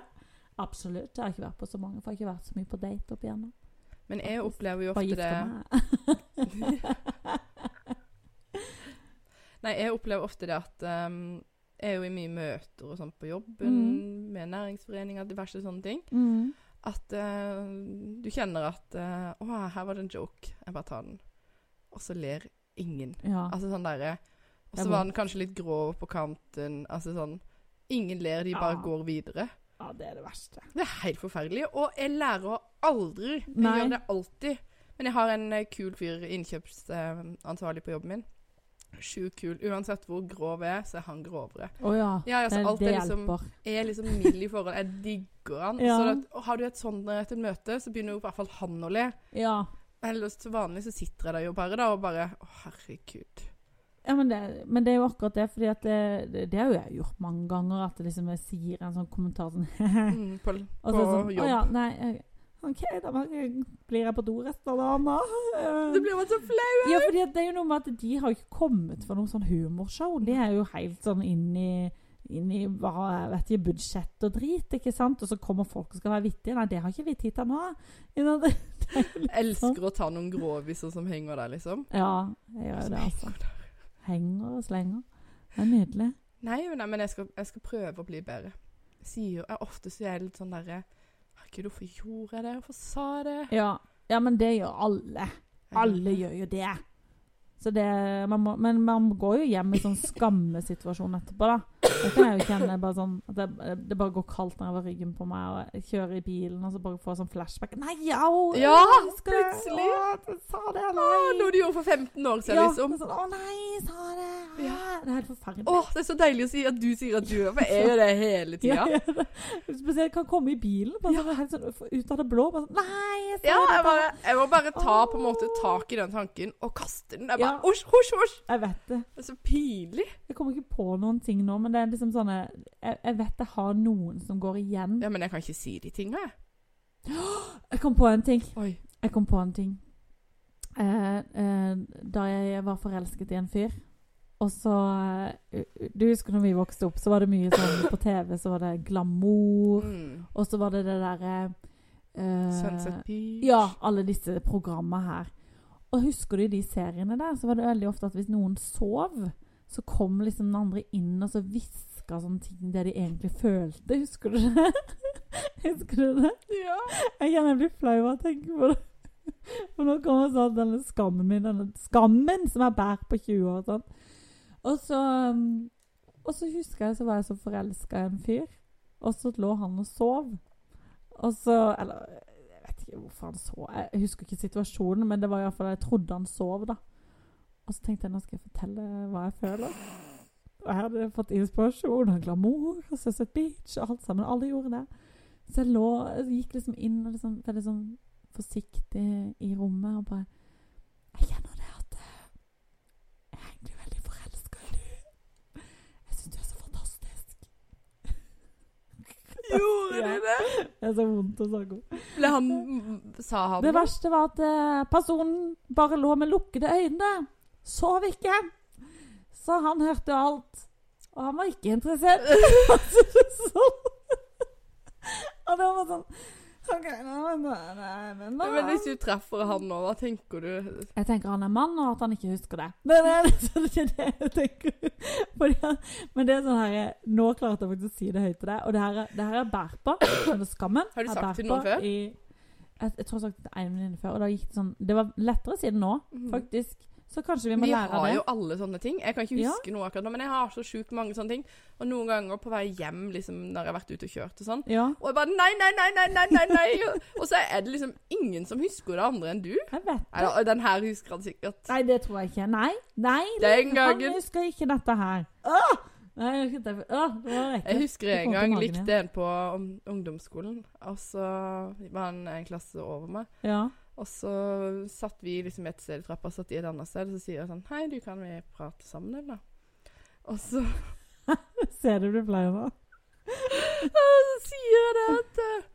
A: Absolutt. Jeg har ikke vært på så mange, for jeg har ikke vært så mye på date opp igjennom.
B: Men jeg opplever jo
A: Bare
B: ofte
A: gifta
B: det
A: meg.
B: Nei, jeg opplever ofte det at ehm, jeg er jo i mye møter og sånt på jobben, med næringsforeninger, diverse sånne ting,
A: Mm.
B: at eh, du kjenner at eh, 'Å, her var det en joke. Jeg bare tar den.' Og så ler ingen.
A: Ja.
B: Altså sånn derre Og
A: Det
B: så
A: er
B: var den kanskje litt grå på kanten. Altså sånn Ingen ler, de bare
A: Ja.
B: går videre.
A: ja, det er det verste.
B: Det er helt forferdelig. Og jeg lærer aldri. Jeg
A: Nei.
B: gjør det alltid. Men jeg har en eh, kul fyr, innkjøpsansvarlig på jobben min. Sjukt kul. Uansett hvor grov jeg er, så er han grovere.
A: Å ja.
B: Ja, altså,
A: det,
B: alt
A: det
B: er liksom-
A: hjelper.
B: Jeg er liksom mild i forhold. Jeg digger han.
A: Ja.
B: Så at, og har du et sånt eh, til møte, så begynner jo i hvert fall han å le.
A: Ja.
B: Ellers til vanlig så sitter jeg der jo bare da og bare Å, herregud.
A: Ja, men det, men det er jo akkurat det, fordi at det, det, det har jo jeg gjort mange ganger. At det liksom jeg sier en sånn kommentar sånn
B: Mm, på
A: Og
B: på
A: så sånn
B: jobb.
A: Å ja, nei eh, OK, da bare blir jeg på do resten av dagen, da.
B: Det blir man så flau!
A: Ja, fordi at det er jo noe med at de har jo ikke kommet for noe sånn humorshow. De er jo helt sånn inn i inn i hva jeg vet ikke, budsjett og drit, ikke sant? Og så kommer folk og skal være vittige. Nei, det har ikke vi tid til nå. Ikke sant?
B: Jeg
A: sånn.
B: elsker å ta noen gråviser som henger der, liksom.
A: Ja, jeg gjør jo
B: Som
A: det, altså.
B: henger der.
A: Henger og slenger. Det er nydelig.
B: Nei, men, nei, men jeg, skal, jeg skal prøve å bli bedre. Jeg Sier jo jeg, Ofte så er jeg litt sånn derre Herregud, hvorfor gjorde jeg det? Hvorfor sa jeg det?
A: Ja, ja men det gjør alle. Alle gjør jo det. Så det man må, men man går jo hjem i sånn skammesituasjon etterpå, da. Det kan jeg jo kjenne. Bare sånn, at det, det bare går kaldt nedover ryggen på meg, og jeg kjører i bilen og så bare får sånn flashback. Nei, au!
B: Ja,
A: Å, skal jeg-
B: plutselig.
A: Å, du sa det,
B: Å,
A: nei!
B: noe du gjorde for 15 år siden,
A: Ja,
B: liksom.
A: sånn, å nei, sa det! Ah,
B: Ja.
A: Det er helt forferdelig.
B: Å, det er så deilig å si at du sier at du gjør For jeg gjør det hele tida.
A: Ja, ja. Spesielt kan komme i bilen bare sånn, helt sånn, ut av det blå. Bare sånn, nei, sa
B: Ja,
A: det!
B: jeg, bare, jeg må bare ta på en
A: Åh.
B: måte tak i den tanken og kaste den. Jeg
A: Ja.
B: bare, osj, osj, osj.
A: Jeg vet det.
B: Det er så pinlig.
A: Jeg kommer ikke på noen ting nå, men det er liksom sånne Jeg, jeg vet jeg har noen som går igjen.
B: Ja, men jeg kan ikke si de tinga, jeg.
A: Jeg kom på en ting.
B: Oi.
A: Jeg kom på en ting. Eh, eh, da jeg var forelsket i en fyr, og så eh, Du husker når vi vokste opp, så var det mye sånn på TV, så var det glamour,
B: Mm.
A: og så var det det derre eh,
B: Sunset Beach.
A: Ja, alle disse programma her. Og husker du de seriene der, så var det veldig ofte at hvis noen sov, så kom liksom den andre inn og så hviska sånne ting det de egentlig følte. Husker du det? husker du det?
B: Ja.
A: Jeg kan jeg bli flau av å tenke på det. For nå kommer sånn denne skammen min, denne skammen som jeg bærer på 20 år. Sånn. Og så um, Og så husker jeg så var jeg så forelska i en fyr, og så lå han og sov. Og så Eller jeg vet ikke hvorfor han sov. Jeg husker ikke situasjonen, men det var iallfall jeg trodde han sov, da. Og så tenkte jeg nå skal jeg fortelle hva jeg føler. Og jeg hadde fått inspirasjon og glamour og Sunset Beach og alt sammen. Alle gjorde det. Så jeg lå, jeg gikk liksom inn og liksom, veldig sånn forsiktig i rommet og bare Jeg kjenner det at eh, jeg er egentlig veldig forelska i du. Jeg syns du er så fantastisk.
B: Gjorde
A: Ja.
B: de det?
A: Det er så vondt å snakke om.
B: Ble han Sa han
A: Det verste var at eh, personen bare lå med lukkede øyne. Sov ikke. Så han hørte alt. Og han var ikke interessert. Altså, sånn. Og det var sånn OK, nå nå- nei, men
B: Ja,
A: nå-
B: Men hvis du treffer han nå, hva tenker du?
A: Jeg tenker han er mann, og at han ikke husker det. Det er det, så det, er det jeg tenker. Fordi han, men det er sånn her eh, Nå klarte jeg faktisk å si det høyt til deg, og det her, er- det her er jeg bærer på. Under skammen.
B: Har du
A: jeg
B: sagt
A: bærer
B: til
A: på
B: noen før?
A: I, jeg, jeg tror jeg har sagt det til en venninne før, og da gikk det sånn Det var lettere å si det nå, faktisk. Så kanskje vi må
B: Mm. Vi
A: lære
B: har
A: det.
B: jo alle sånne ting. Jeg kan ikke
A: Ja.
B: huske noe akkurat nå, men jeg har så sjukt mange sånne ting. Og noen ganger på vei hjem, liksom, når jeg har vært ute og kjørt og sånn,
A: Ja.
B: og jeg bare nei, nei, nei, nei, nei, nei, nei. Og så er det liksom ingen som husker det andre enn du.
A: Jeg vet det.
B: Eller, den her husker han sikkert.
A: Nei, det tror jeg ikke. Nei. Nei.
B: Den
A: Han
B: gangen.
A: husker ikke dette her. Åh! Nei, jeg husker ikke det. Åh, det var
B: Jeg
A: ekkelt.
B: husker
A: Det
B: en
A: kom til
B: gang
A: magen
B: likte en på um, ungdomsskolen, og så var han en klasse over meg.
A: Ja.
B: Og så satt vi liksom et sted i trappa, satt i et annet sted, og så sier jeg sånn Hei, du, kan vi prate sammen, eller? Og så,
A: Ser du du pleier nå?
B: og så sier jeg det at eh,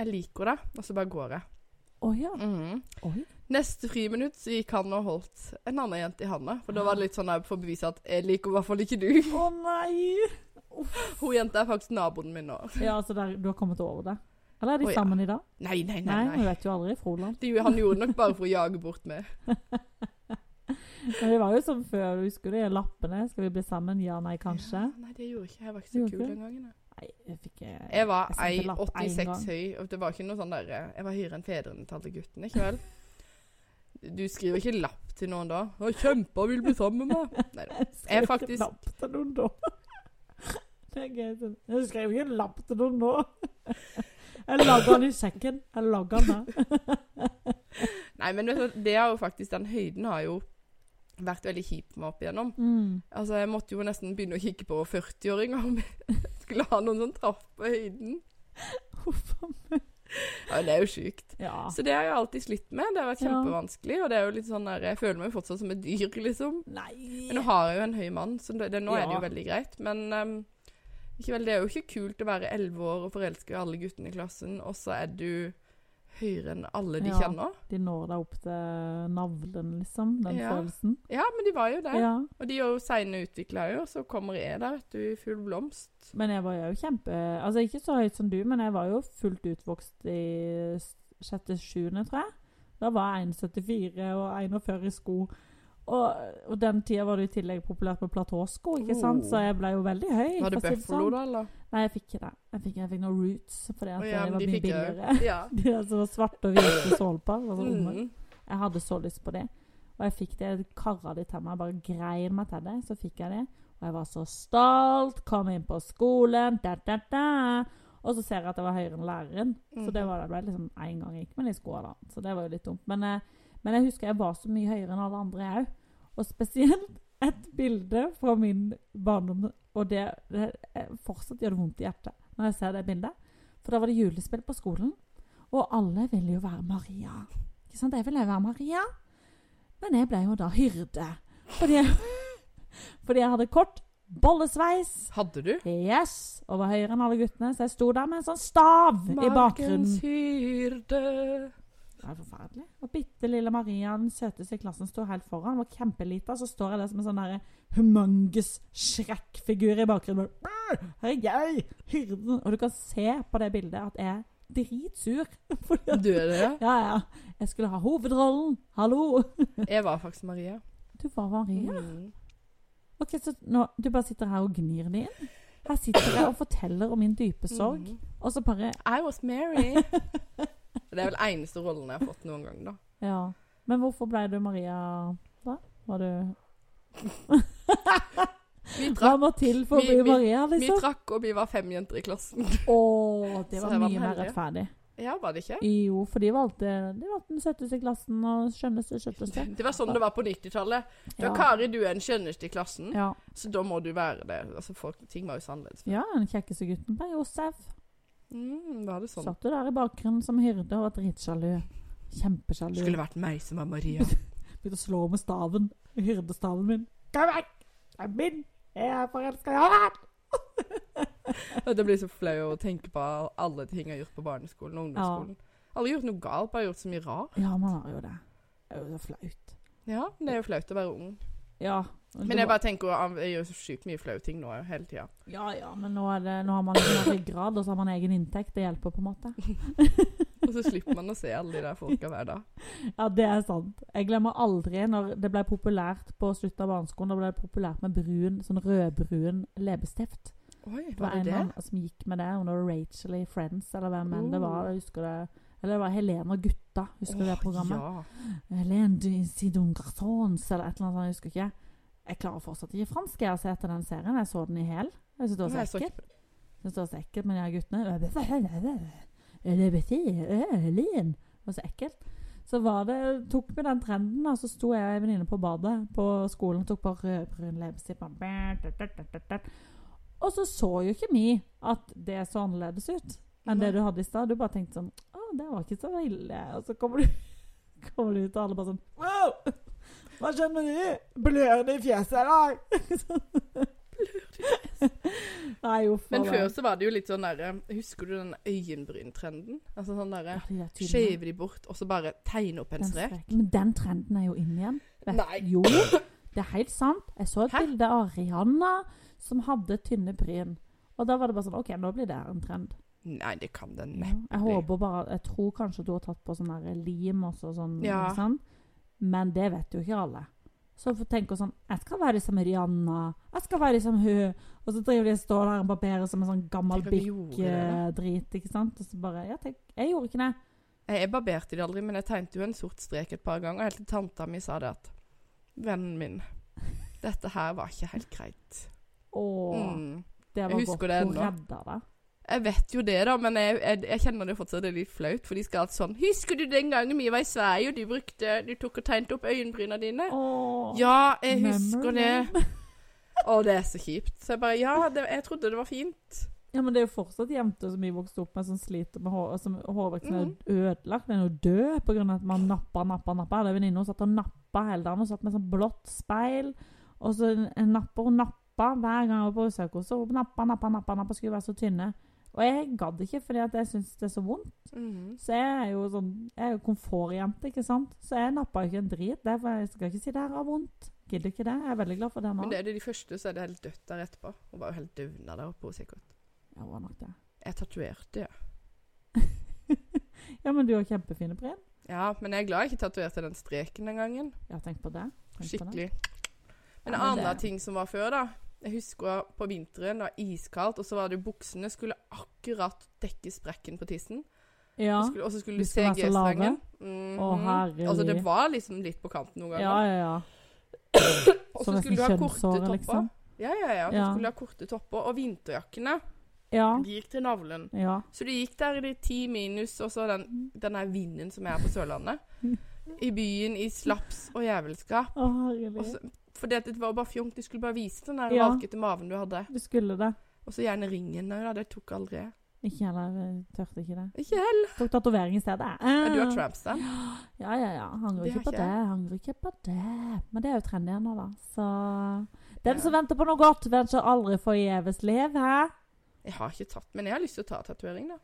B: Jeg liker det, og så bare går jeg.
A: Å ja.
B: Mhm.
A: Oi.
B: Neste friminutt så gikk han og holdt en annen jente i handa. For da var det litt sånn eh, for å bevise at jeg liker i hvert fall ikke du.
A: Å nei.
B: Hun jenta er faktisk naboen min nå.
A: Ja, altså der, du har kommet over det? Eller er de
B: Å, ja.
A: sammen i dag?
B: Nei, nei,
A: Nei, vi
B: nei. nei.
A: vet jo aldri. Froland.
B: Det, han gjorde det nok bare for å jage bort meg.
A: Men det var jo som før, du husker det? Lappene. Skal vi bli sammen? Ja, nei, kanskje?
B: Ja, nei, det gjorde jeg ikke. Jeg var ikke
A: Gjorde
B: så
A: ikke
B: kul
A: det?
B: den gangen. Jeg,
A: Nei, jeg fikk eh,
B: jeg var
A: sendte
B: ei-
A: lapp en
B: 86
A: gang.
B: høy, og det var ikke noe sånn derre Jeg var høyere enn fedrene til alle guttene, ikke vel? Du skriver ikke lapp til noen da. 'Å, kjempa vil bli sammen med meg'. Nei da.
A: Jeg skrev
B: Jeg
A: ikke
B: faktisk-
A: lapp til noen da. Det er gøy. sånn. Jeg skrev ikke lapp til noen nå. Jeg lagde den i sekken. Jeg lagde den der.
B: Nei, men vet du, hva, det har jo faktisk Den høyden har jo vært veldig kjip med opp igjennom.
A: Mm.
B: Altså, jeg måtte jo nesten begynne å kikke på 40-åringer om jeg skulle ha noen som traff på høyden.
A: Huff a meg.
B: Ja, det er jo sjukt.
A: Ja.
B: Så det har jeg alltid slitt med. Det har vært
A: Ja.
B: kjempevanskelig. Og det er jo litt sånn der, jeg føler meg jo fortsatt som et dyr, liksom.
A: Nei.
B: Men nå har jeg jo en høy mann, så det, det, nå er det jo
A: Ja.
B: veldig greit. Men ehm, ikke vel, det er jo ikke kult å være elleve år og forelske i alle guttene i klassen, og så er du høyere enn alle de
A: Ja.
B: kjenner.
A: De når deg opp til navlen, liksom. Den
B: Ja.
A: følelsen.
B: Ja, men de var jo der.
A: Ja.
B: Og de er jo seine utvikla jo, og så kommer jeg der, vet du, i full blomst.
A: Men jeg var jo kjempe Altså ikke så høyt som du, men jeg var jo fullt utvokst i s- sjette, sjuende, tror jeg. Da var jeg 1,74 og 41 i sko. Og, og den tida var det i tillegg populært med platåsko, ikke sant?
B: Oh.
A: Så jeg ble jo veldig høy.
B: Var det
A: for å si
B: Buffalo,
A: sånn.
B: da, eller?
A: Nei, jeg fikk ikke det. Jeg fikk, jeg fikk noe roots fordi at
B: Å, ja,
A: det
B: men
A: var
B: de
A: mye
B: fikk jeg.
A: billigere.
B: Ja.
A: De der som var svarte og hvite sålpar. var så unge.
B: Mm.
A: Jeg hadde så lyst på det. Og jeg fikk det, jeg karra det til meg. Jeg bare grein meg til det. Så fikk jeg det. Og jeg var så stolt. Kom inn på skolen. Da, da, da. Og så ser jeg at jeg var høyere enn læreren. Så det var det ble liksom én gang jeg gikk med de skoene. da. Så det var jo litt dumt. Men, eh, men jeg husker jeg var så mye høyere enn alle andre, jeg òg. Og spesielt et bilde fra min barndom, og det, det jeg fortsatt gjør det vondt i hjertet når jeg ser det bildet. For da var det julespill på skolen, og alle ville jo være Maria. Ikke sant? Jeg ville jo være Maria, men jeg ble jo da hyrde. Fordi jeg, fordi jeg hadde kort bollesveis.
B: Hadde du?
A: Yes! Og var høyere enn alle guttene, så jeg sto der med en sånn stav i bakgrunnen.
B: Markens hyrde.
A: Det er forferdelig. Og bitte lille Maria, den søteste i klassen, står helt foran. Hun var kjempelita, så står jeg der som en sånn der humongous Shrek-figur i bakgrunnen. Bare, «Brr, Her er jeg! Hyrden! Og du kan se på det bildet at jeg er dritsur. Fordi at
B: Du er det?
A: Ja, ja. Jeg skulle ha hovedrollen. Hallo!
B: Jeg var faktisk Maria.
A: Du var Maria.
B: Mm.
A: Ok, så nå, Du bare sitter her og gnir det inn? Her sitter jeg og forteller om min dype sorg,
B: Mm.
A: og så bare
B: I was Mary. Det er vel eneste rollen jeg har fått noen gang, da.
A: Ja. Men hvorfor ble du Maria da? Var du
B: Vi
A: hva må til for å
B: Vi-
A: bli
B: vi-
A: Maria,
B: Vi
A: liksom?
B: trakk, og vi var fem jenter i klassen.
A: Å, det
B: Så
A: var
B: jeg var
A: mye mer
B: heldig.
A: rettferdig.
B: Ja, var det ikke?
A: Jo, for de valgte, de valgte den søteste klassen og skjønneste skjøtteste.
B: Det var sånn det var på 90-tallet. Da
A: Ja.
B: Kari, du er den skjønneste i klassen,
A: Ja.
B: så da må du være det. Altså, folk, ting var jo så annerledes.
A: ja, den kjekkeste gutten ble Josef.
B: Mm, var det sånn?
A: Satt du der i bakgrunnen som hyrde og var dritsjalu. Kjempesjalu.
B: Skulle vært meg som var Maria.
A: Begynte å slå med staven. Hyrdestaven min. Kom vekk! Det er min! Jeg er forelska i han!
B: Og Det blir så flau å tenke på alle ting jeg har gjort på barneskolen og ungdomsskolen. Alle har gjort noe galt, bare gjort så mye rar.
A: Ja, man har jo det. Det er jo så flaut.
B: Ja, det er jo flaut å være ung.
A: Ja.
B: Men jeg bare tenker, ah, jeg gjør så sykt mye flaue ting nå hele tida.
A: Ja, ja, men nå, er det, nå har man en ryggrad, og så har man egen inntekt. Det hjelper, på en måte.
B: Og så slipper man å se alle de der folka hver dag.
A: Ja, det er sant. Jeg glemmer aldri når det ble populært på slutten av barneskolen. Da ble det populært med brun, sånn rødbrun leppestift.
B: Oi,
A: Det
B: var det
A: en
B: det?
A: mann som gikk med det. Hun var Rachel i Friends, eller hvem enn det var.
B: Oh.
A: Jeg husker det. Eller det var Helene og gutta. Husker du det
B: Åh,
A: programmet?
B: Ja.
A: Helene de Sidon Garçons, eller et eller annet sånt. Jeg husker ikke. Jeg klarer fortsatt ikke fransk. Jeg har sett den serien. Jeg så den i hæl. Jeg syns det
B: Nei,
A: var
B: jeg så
A: så
B: ikke
A: ekkelt. Jeg synes det var så ekkelt med de her guttene. LGBT, øh, Lin. Det var så ekkelt. Så var det, tok vi den trenden, og så sto jeg og en venninne på badet på skolen og tok på rødbrun leppestift. Bare bæ, dæ, dæ, dæ, dæ, dæ. Og så så jo ikke vi at det så annerledes ut enn det
B: Nei.
A: du hadde i stad. Du bare tenkte sånn Å, det var ikke så ille. Og så kommer du, kommer du ut, og alle bare sånn Wow! Hva skjønner du? Blør det i fjeset i dag? Nei, uff.
B: Men
A: hva
B: før
A: var det?
B: så var det jo litt sånn derre Husker du den øyenbryntrenden? Altså sånn derre
A: Ja, de der tynne.
B: Skeive de bort, og så bare tegne opp en
A: Den
B: strek?
A: streken. Men den trenden er jo inn igjen. Vet-
B: Nei.
A: Jo, det er helt sant. Jeg så et
B: Hæ?
A: bilde av Rihanna som hadde tynne bryn. Og da var det bare sånn OK, nå blir det her en trend.
B: Nei, det kan den
A: Ja,
B: neppe.
A: Jeg håper bare Jeg tror kanskje du har tatt på sånn der lim også, sånn,
B: Ja.
A: ikke sant? men det vet jo ikke alle. Så for- tenker hun sånn Jeg skal være som Rihanna. Jeg skal være som hun. Og så driver de og står der og barberer som en sånn gammel
B: Tenk at vi gjorde det, da.
A: bikk-drit, ikke sant? Og så bare Ja, tenk, jeg gjorde ikke det.
B: Jeg, jeg barberte det aldri, men jeg tegnet jo en sort strek et par ganger. Helt til tanta mi sa det at Vennen min, dette her var ikke helt greit.
A: Åh.
B: Mm.
A: Det var
B: Jeg husker
A: godt.
B: det
A: Hun
B: ennå.
A: redda deg.
B: Jeg vet jo det, da, men jeg, jeg, jeg kjenner det fortsatt er litt flaut. For de skal alt sånn 'Husker du den gangen vi var i Sverige, og du brukte Du tok og tegnet opp øyenbryna dine?'
A: Åh.
B: Ja, jeg husker
A: Memory
B: det.
A: lane.
B: Å, det er så kjipt. Så jeg bare Ja, det, jeg trodde det var fint.
A: Ja, men det er jo fortsatt jenter som vi vokste opp med, som sliter med hår, som hårveksten er
B: Mhm.
A: ødelagt. Den er jo død pga. at man nappa, nappa, nappa. Jeg hadde en venninne som satt og nappa hele dagen. Hun satt med sånn blått speil, og så en- en napper og nappa hver gang hun var på besøk hos henne. Hun Nappa, nappa, nappa, nappa, skulle være så tynne. Og jeg gadd ikke, fordi at jeg syns det er så vondt.
B: Mhm.
A: Så jeg er jo sånn Jeg er jo komfortjente, ikke sant. Så jeg nappa ikke en drit. Derfor jeg skal ikke si det her har vondt. Gidder ikke det. Jeg er veldig glad for det nå.
B: Men det er det de første, så er det helt dødt der etterpå. Hun var jo helt døvna der oppe, hun sikkert.
A: Ja, det var nok det.
B: Jeg tatoverte, ja.
A: Ja, men du har kjempefine bryn.
B: Ja, men jeg er glad jeg ikke tatoverte den streken den gangen.
A: Ja, tenk på det. Tenk på det.
B: Skikkelig. Men
A: Ja, men
B: andre
A: det-
B: ting som var før, da. Jeg husker på vinteren, det var iskaldt, og så var det jo buksene skulle akkurat dekke sprekken på tissen.
A: Ja.
B: Og skulle- Og så skulle du
A: De
B: se
A: skulle være så lave.
B: G-strengen. Mhm.
A: Å, herregud.
B: Altså, det var liksom litt på kanten noen ganger.
A: ja, ja, ja.
B: og
A: Som
B: så skulle du ha
A: nesten
B: korte
A: kjønnshår,
B: topper.
A: liksom.
B: Ja, ja, ja. Så
A: Ja.
B: skulle du ha korte topper. Og vinterjakkene,
A: Ja.
B: de gikk til navlen.
A: ja.
B: Så du gikk der i de ti minus, og så den, den der vinden som er på Sørlandet. I byen, i slaps og jævelskap.
A: Å,
B: Og
A: herregud.
B: så, for det, det var bare fjongt. De skulle bare vise den der
A: Ja.
B: valkete maven du hadde.
A: Du skulle det.
B: Og så gjerne ringen der, da. Det tok aldri jeg.
A: Ikke heller. eh, Tørte ikke det.
B: Ikke heller.
A: Tok tatovering i stedet.
B: Ja, du har
A: Eh.
B: trampstand.
A: Ja, ja, ja. Angrer ikke
B: Det har
A: på
B: ikke
A: det.
B: jeg.
A: Angrer ikke på det. Men det er jo trend igjen nå, da. Så Den
B: Ja.
A: som venter på noe godt, venter aldri forgjeves liv, hæ?
B: Jeg har ikke tatt, men jeg har lyst til å ta tatovering, da.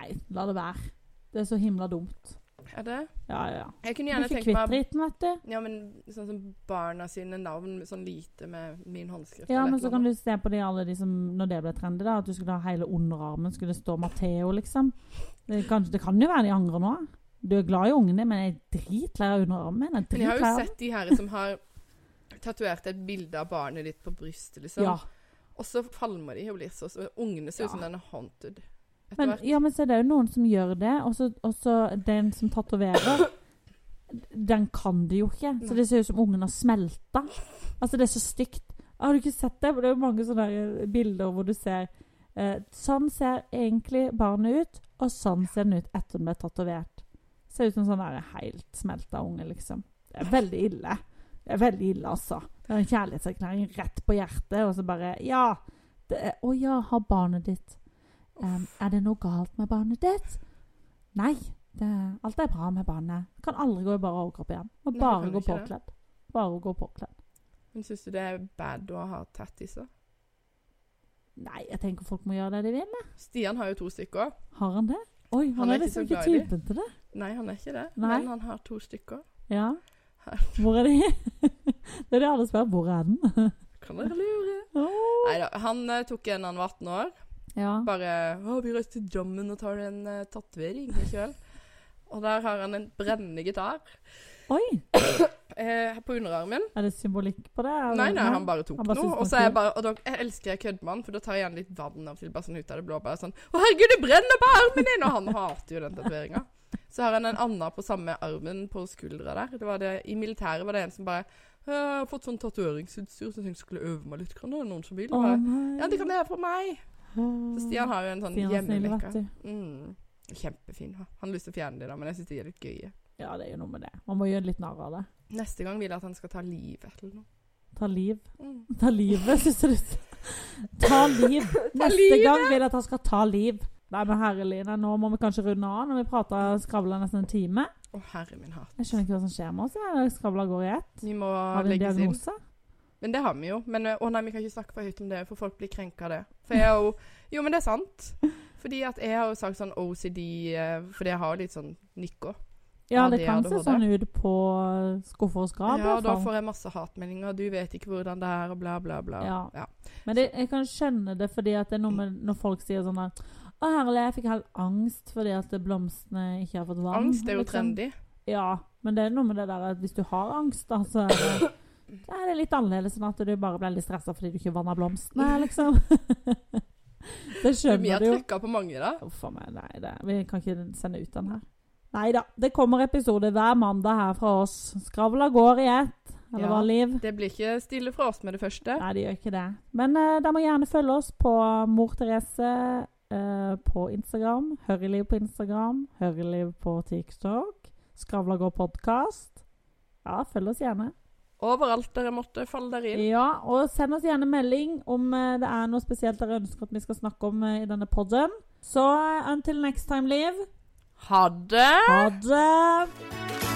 A: Nei, la det være. Det er så himla dumt.
B: Er det?
A: Ja, ja, ja.
B: Jeg kunne
A: Du er
B: gjerne
A: ikke
B: tenkt
A: kvitt
B: meg
A: driten, vet du.
B: Ja, men sånn som barna sine navn, sånn lite med min håndskrift.
A: Ja,
B: eller
A: men
B: et
A: så
B: eller
A: kan
B: annet.
A: du se på de alle de som Når det ble trendy, da, at du skulle ha hele underarmen, skulle det stå Matheo, liksom. Det kan, det kan jo være de angrer nå. Du er glad i ungene, men jeg er dritlei av underarmen. Jeg er
B: Men jeg har
A: dritlei
B: jo
A: av
B: sett de her som har tatovert et bilde av barnet ditt på brystet, liksom.
A: ja.
B: Og så falmer de og blir så så Ungene ser ut som
A: Ja.
B: den er haunted. Etter
A: Men,
B: hvert.
A: ja, men så er det jo noen som gjør det, og så- og så den som tatoverer Den kan det jo ikke. Så det ser ut som ungen har smelta. Altså, det er så stygt. Har du ikke sett det? For det er jo mange sånne der bilder hvor du ser eh, Sånn ser egentlig barnet ut, og sånn ser den ut etter den ble tatovert. Ser ut som sånn der helt smelta unge, liksom. Det er veldig ille. Det er veldig ille, altså. Det er en kjærlighetserklæring rett på hjertet, og så bare Ja! Det er, å ja, har barnet ditt Em, Ehm, Er det noe galt med barnet ditt? Nei. Det, alt er bra med barnet. Kan aldri gå i bare overkropp igjen. Må
B: Nei,
A: bare
B: kan
A: gå
B: ikke det.
A: påkledd. Bare gå påkledd.
B: Men syns du det er bad å ha tattiser?
A: Nei, jeg tenker folk må gjøre det de vil.
B: Stian har jo to stykker.
A: Har han det? Oi, han,
B: Han er
A: er
B: ikke
A: liksom
B: så
A: ikke
B: glad i de.
A: typen til det.
B: Nei, han er ikke det.
A: Nei.
B: Men han har to stykker.
A: Ja.
B: Her.
A: Hvor er de? det er det alle spør. Hvor er den?
B: Kan dere lure?
A: Åh.
B: Nei da. Han eh, tok en da han var 18 år.
A: Ja.
B: Bare Å, vi reiser til Drammen og tar en uh, tatovering i kveld. Og der har han en brennende gitar
A: Oi!
B: eh, på underarmen.
A: Er det symbolikk på det? eller?
B: Nei, nei, han bare tok
A: Han bare
B: noe.
A: syntes
B: Og så
A: det var
B: er jeg bare Og da jeg elsker jeg kødder med han, for da tar jeg igjen litt vann av og til, bare sånn ut av det blå. Bare sånn Å, herregud, det brenner på armen din! Og han hater jo den tatoveringa. Så har han en annen på samme armen på skuldra der. Det var det, I militæret var det en som bare «Å, Jeg har fått sånn tatoveringsutstyr, så jeg tenkte jeg skulle øve meg litt. Kan det være noen som vil?
A: Å
B: Og jeg,
A: nei.
B: Ja, det kan dere få meg.
A: Åh.
B: Så Stian har jo en sånn
A: Stian er snill,
B: hjemmeleker.
A: vet du.
B: Mm. Kjempefin. ha. Han har lyst til å fjerne det, da, men jeg syns de er litt gøye.
A: Ja, det er jo noe med det. Man må gjøre litt narr av det.
B: Neste gang vil jeg at han skal ta livet eller noe.
A: Ta liv.
B: Mm.
A: Ta livet, syns du. Ta liv. Neste
B: livet.
A: gang vil jeg at han skal ta liv. Nei, men herre Line, nå må vi kanskje runde av når vi prater skravla nesten en time.
B: Å, herre min hatt.
A: Jeg skjønner ikke hva som skjer med oss. jeg. Skravla går i ett.
B: Vi må
A: Har vi en
B: legges inn.
A: diagnose?
B: Men det har vi jo. Men eh, å nei, vi kan ikke snakke for høyt om det, for folk blir krenka av det. For jeg har jo Jo, men det er sant. Fordi at jeg har jo sagt sånn OCD eh, Fordi jeg har litt sånn nykker.
A: Ja,
B: Ja,
A: det
B: det
A: kan
B: er
A: se
B: ADHD.
A: sånn ut på skuffer og skrap. i
B: Ja,
A: hvert
B: da
A: fall.
B: får jeg masse hatmeldinger. Du vet ikke hvordan det er, og bla, bla, bla.
A: Ja. Men det, jeg kan skjønne det fordi at det er noe med når folk sier sånn der Å, herlig, jeg fikk helt angst fordi at blomstene ikke har fått vann.
B: Angst er jo
A: liksom.
B: trendy.
A: Ja, men det er noe med det der at hvis du har angst, da, så er det, da er det litt annerledes enn at du bare ble litt stressa fordi du ikke vanna blomstene, liksom. det
B: Vi
A: skjønner
B: har
A: du jo.
B: trykka på mange, da.
A: Uff a meg, nei, det, vi kan ikke sende ut den her. Nei da, det kommer episode hver mandag her fra oss. Skravla går i ett, eller
B: Ja.
A: hva, Liv?
B: Det blir ikke stille fra oss med det første.
A: Nei, det gjør ikke det. Men uh, dere må gjerne følge oss på Mor Therese eh, på Instagram, Hørreliv på Instagram, Hørreliv på TikTok, Skravla går podkast. Ja, følg oss gjerne.
B: Overalt dere måtte falle dere inn.
A: Ja, og send oss gjerne melding om eh, det er noe spesielt dere ønsker at vi skal snakke om eh, i denne podden. Så eh, until next time, Liv.
B: Ha det!
A: Ha det!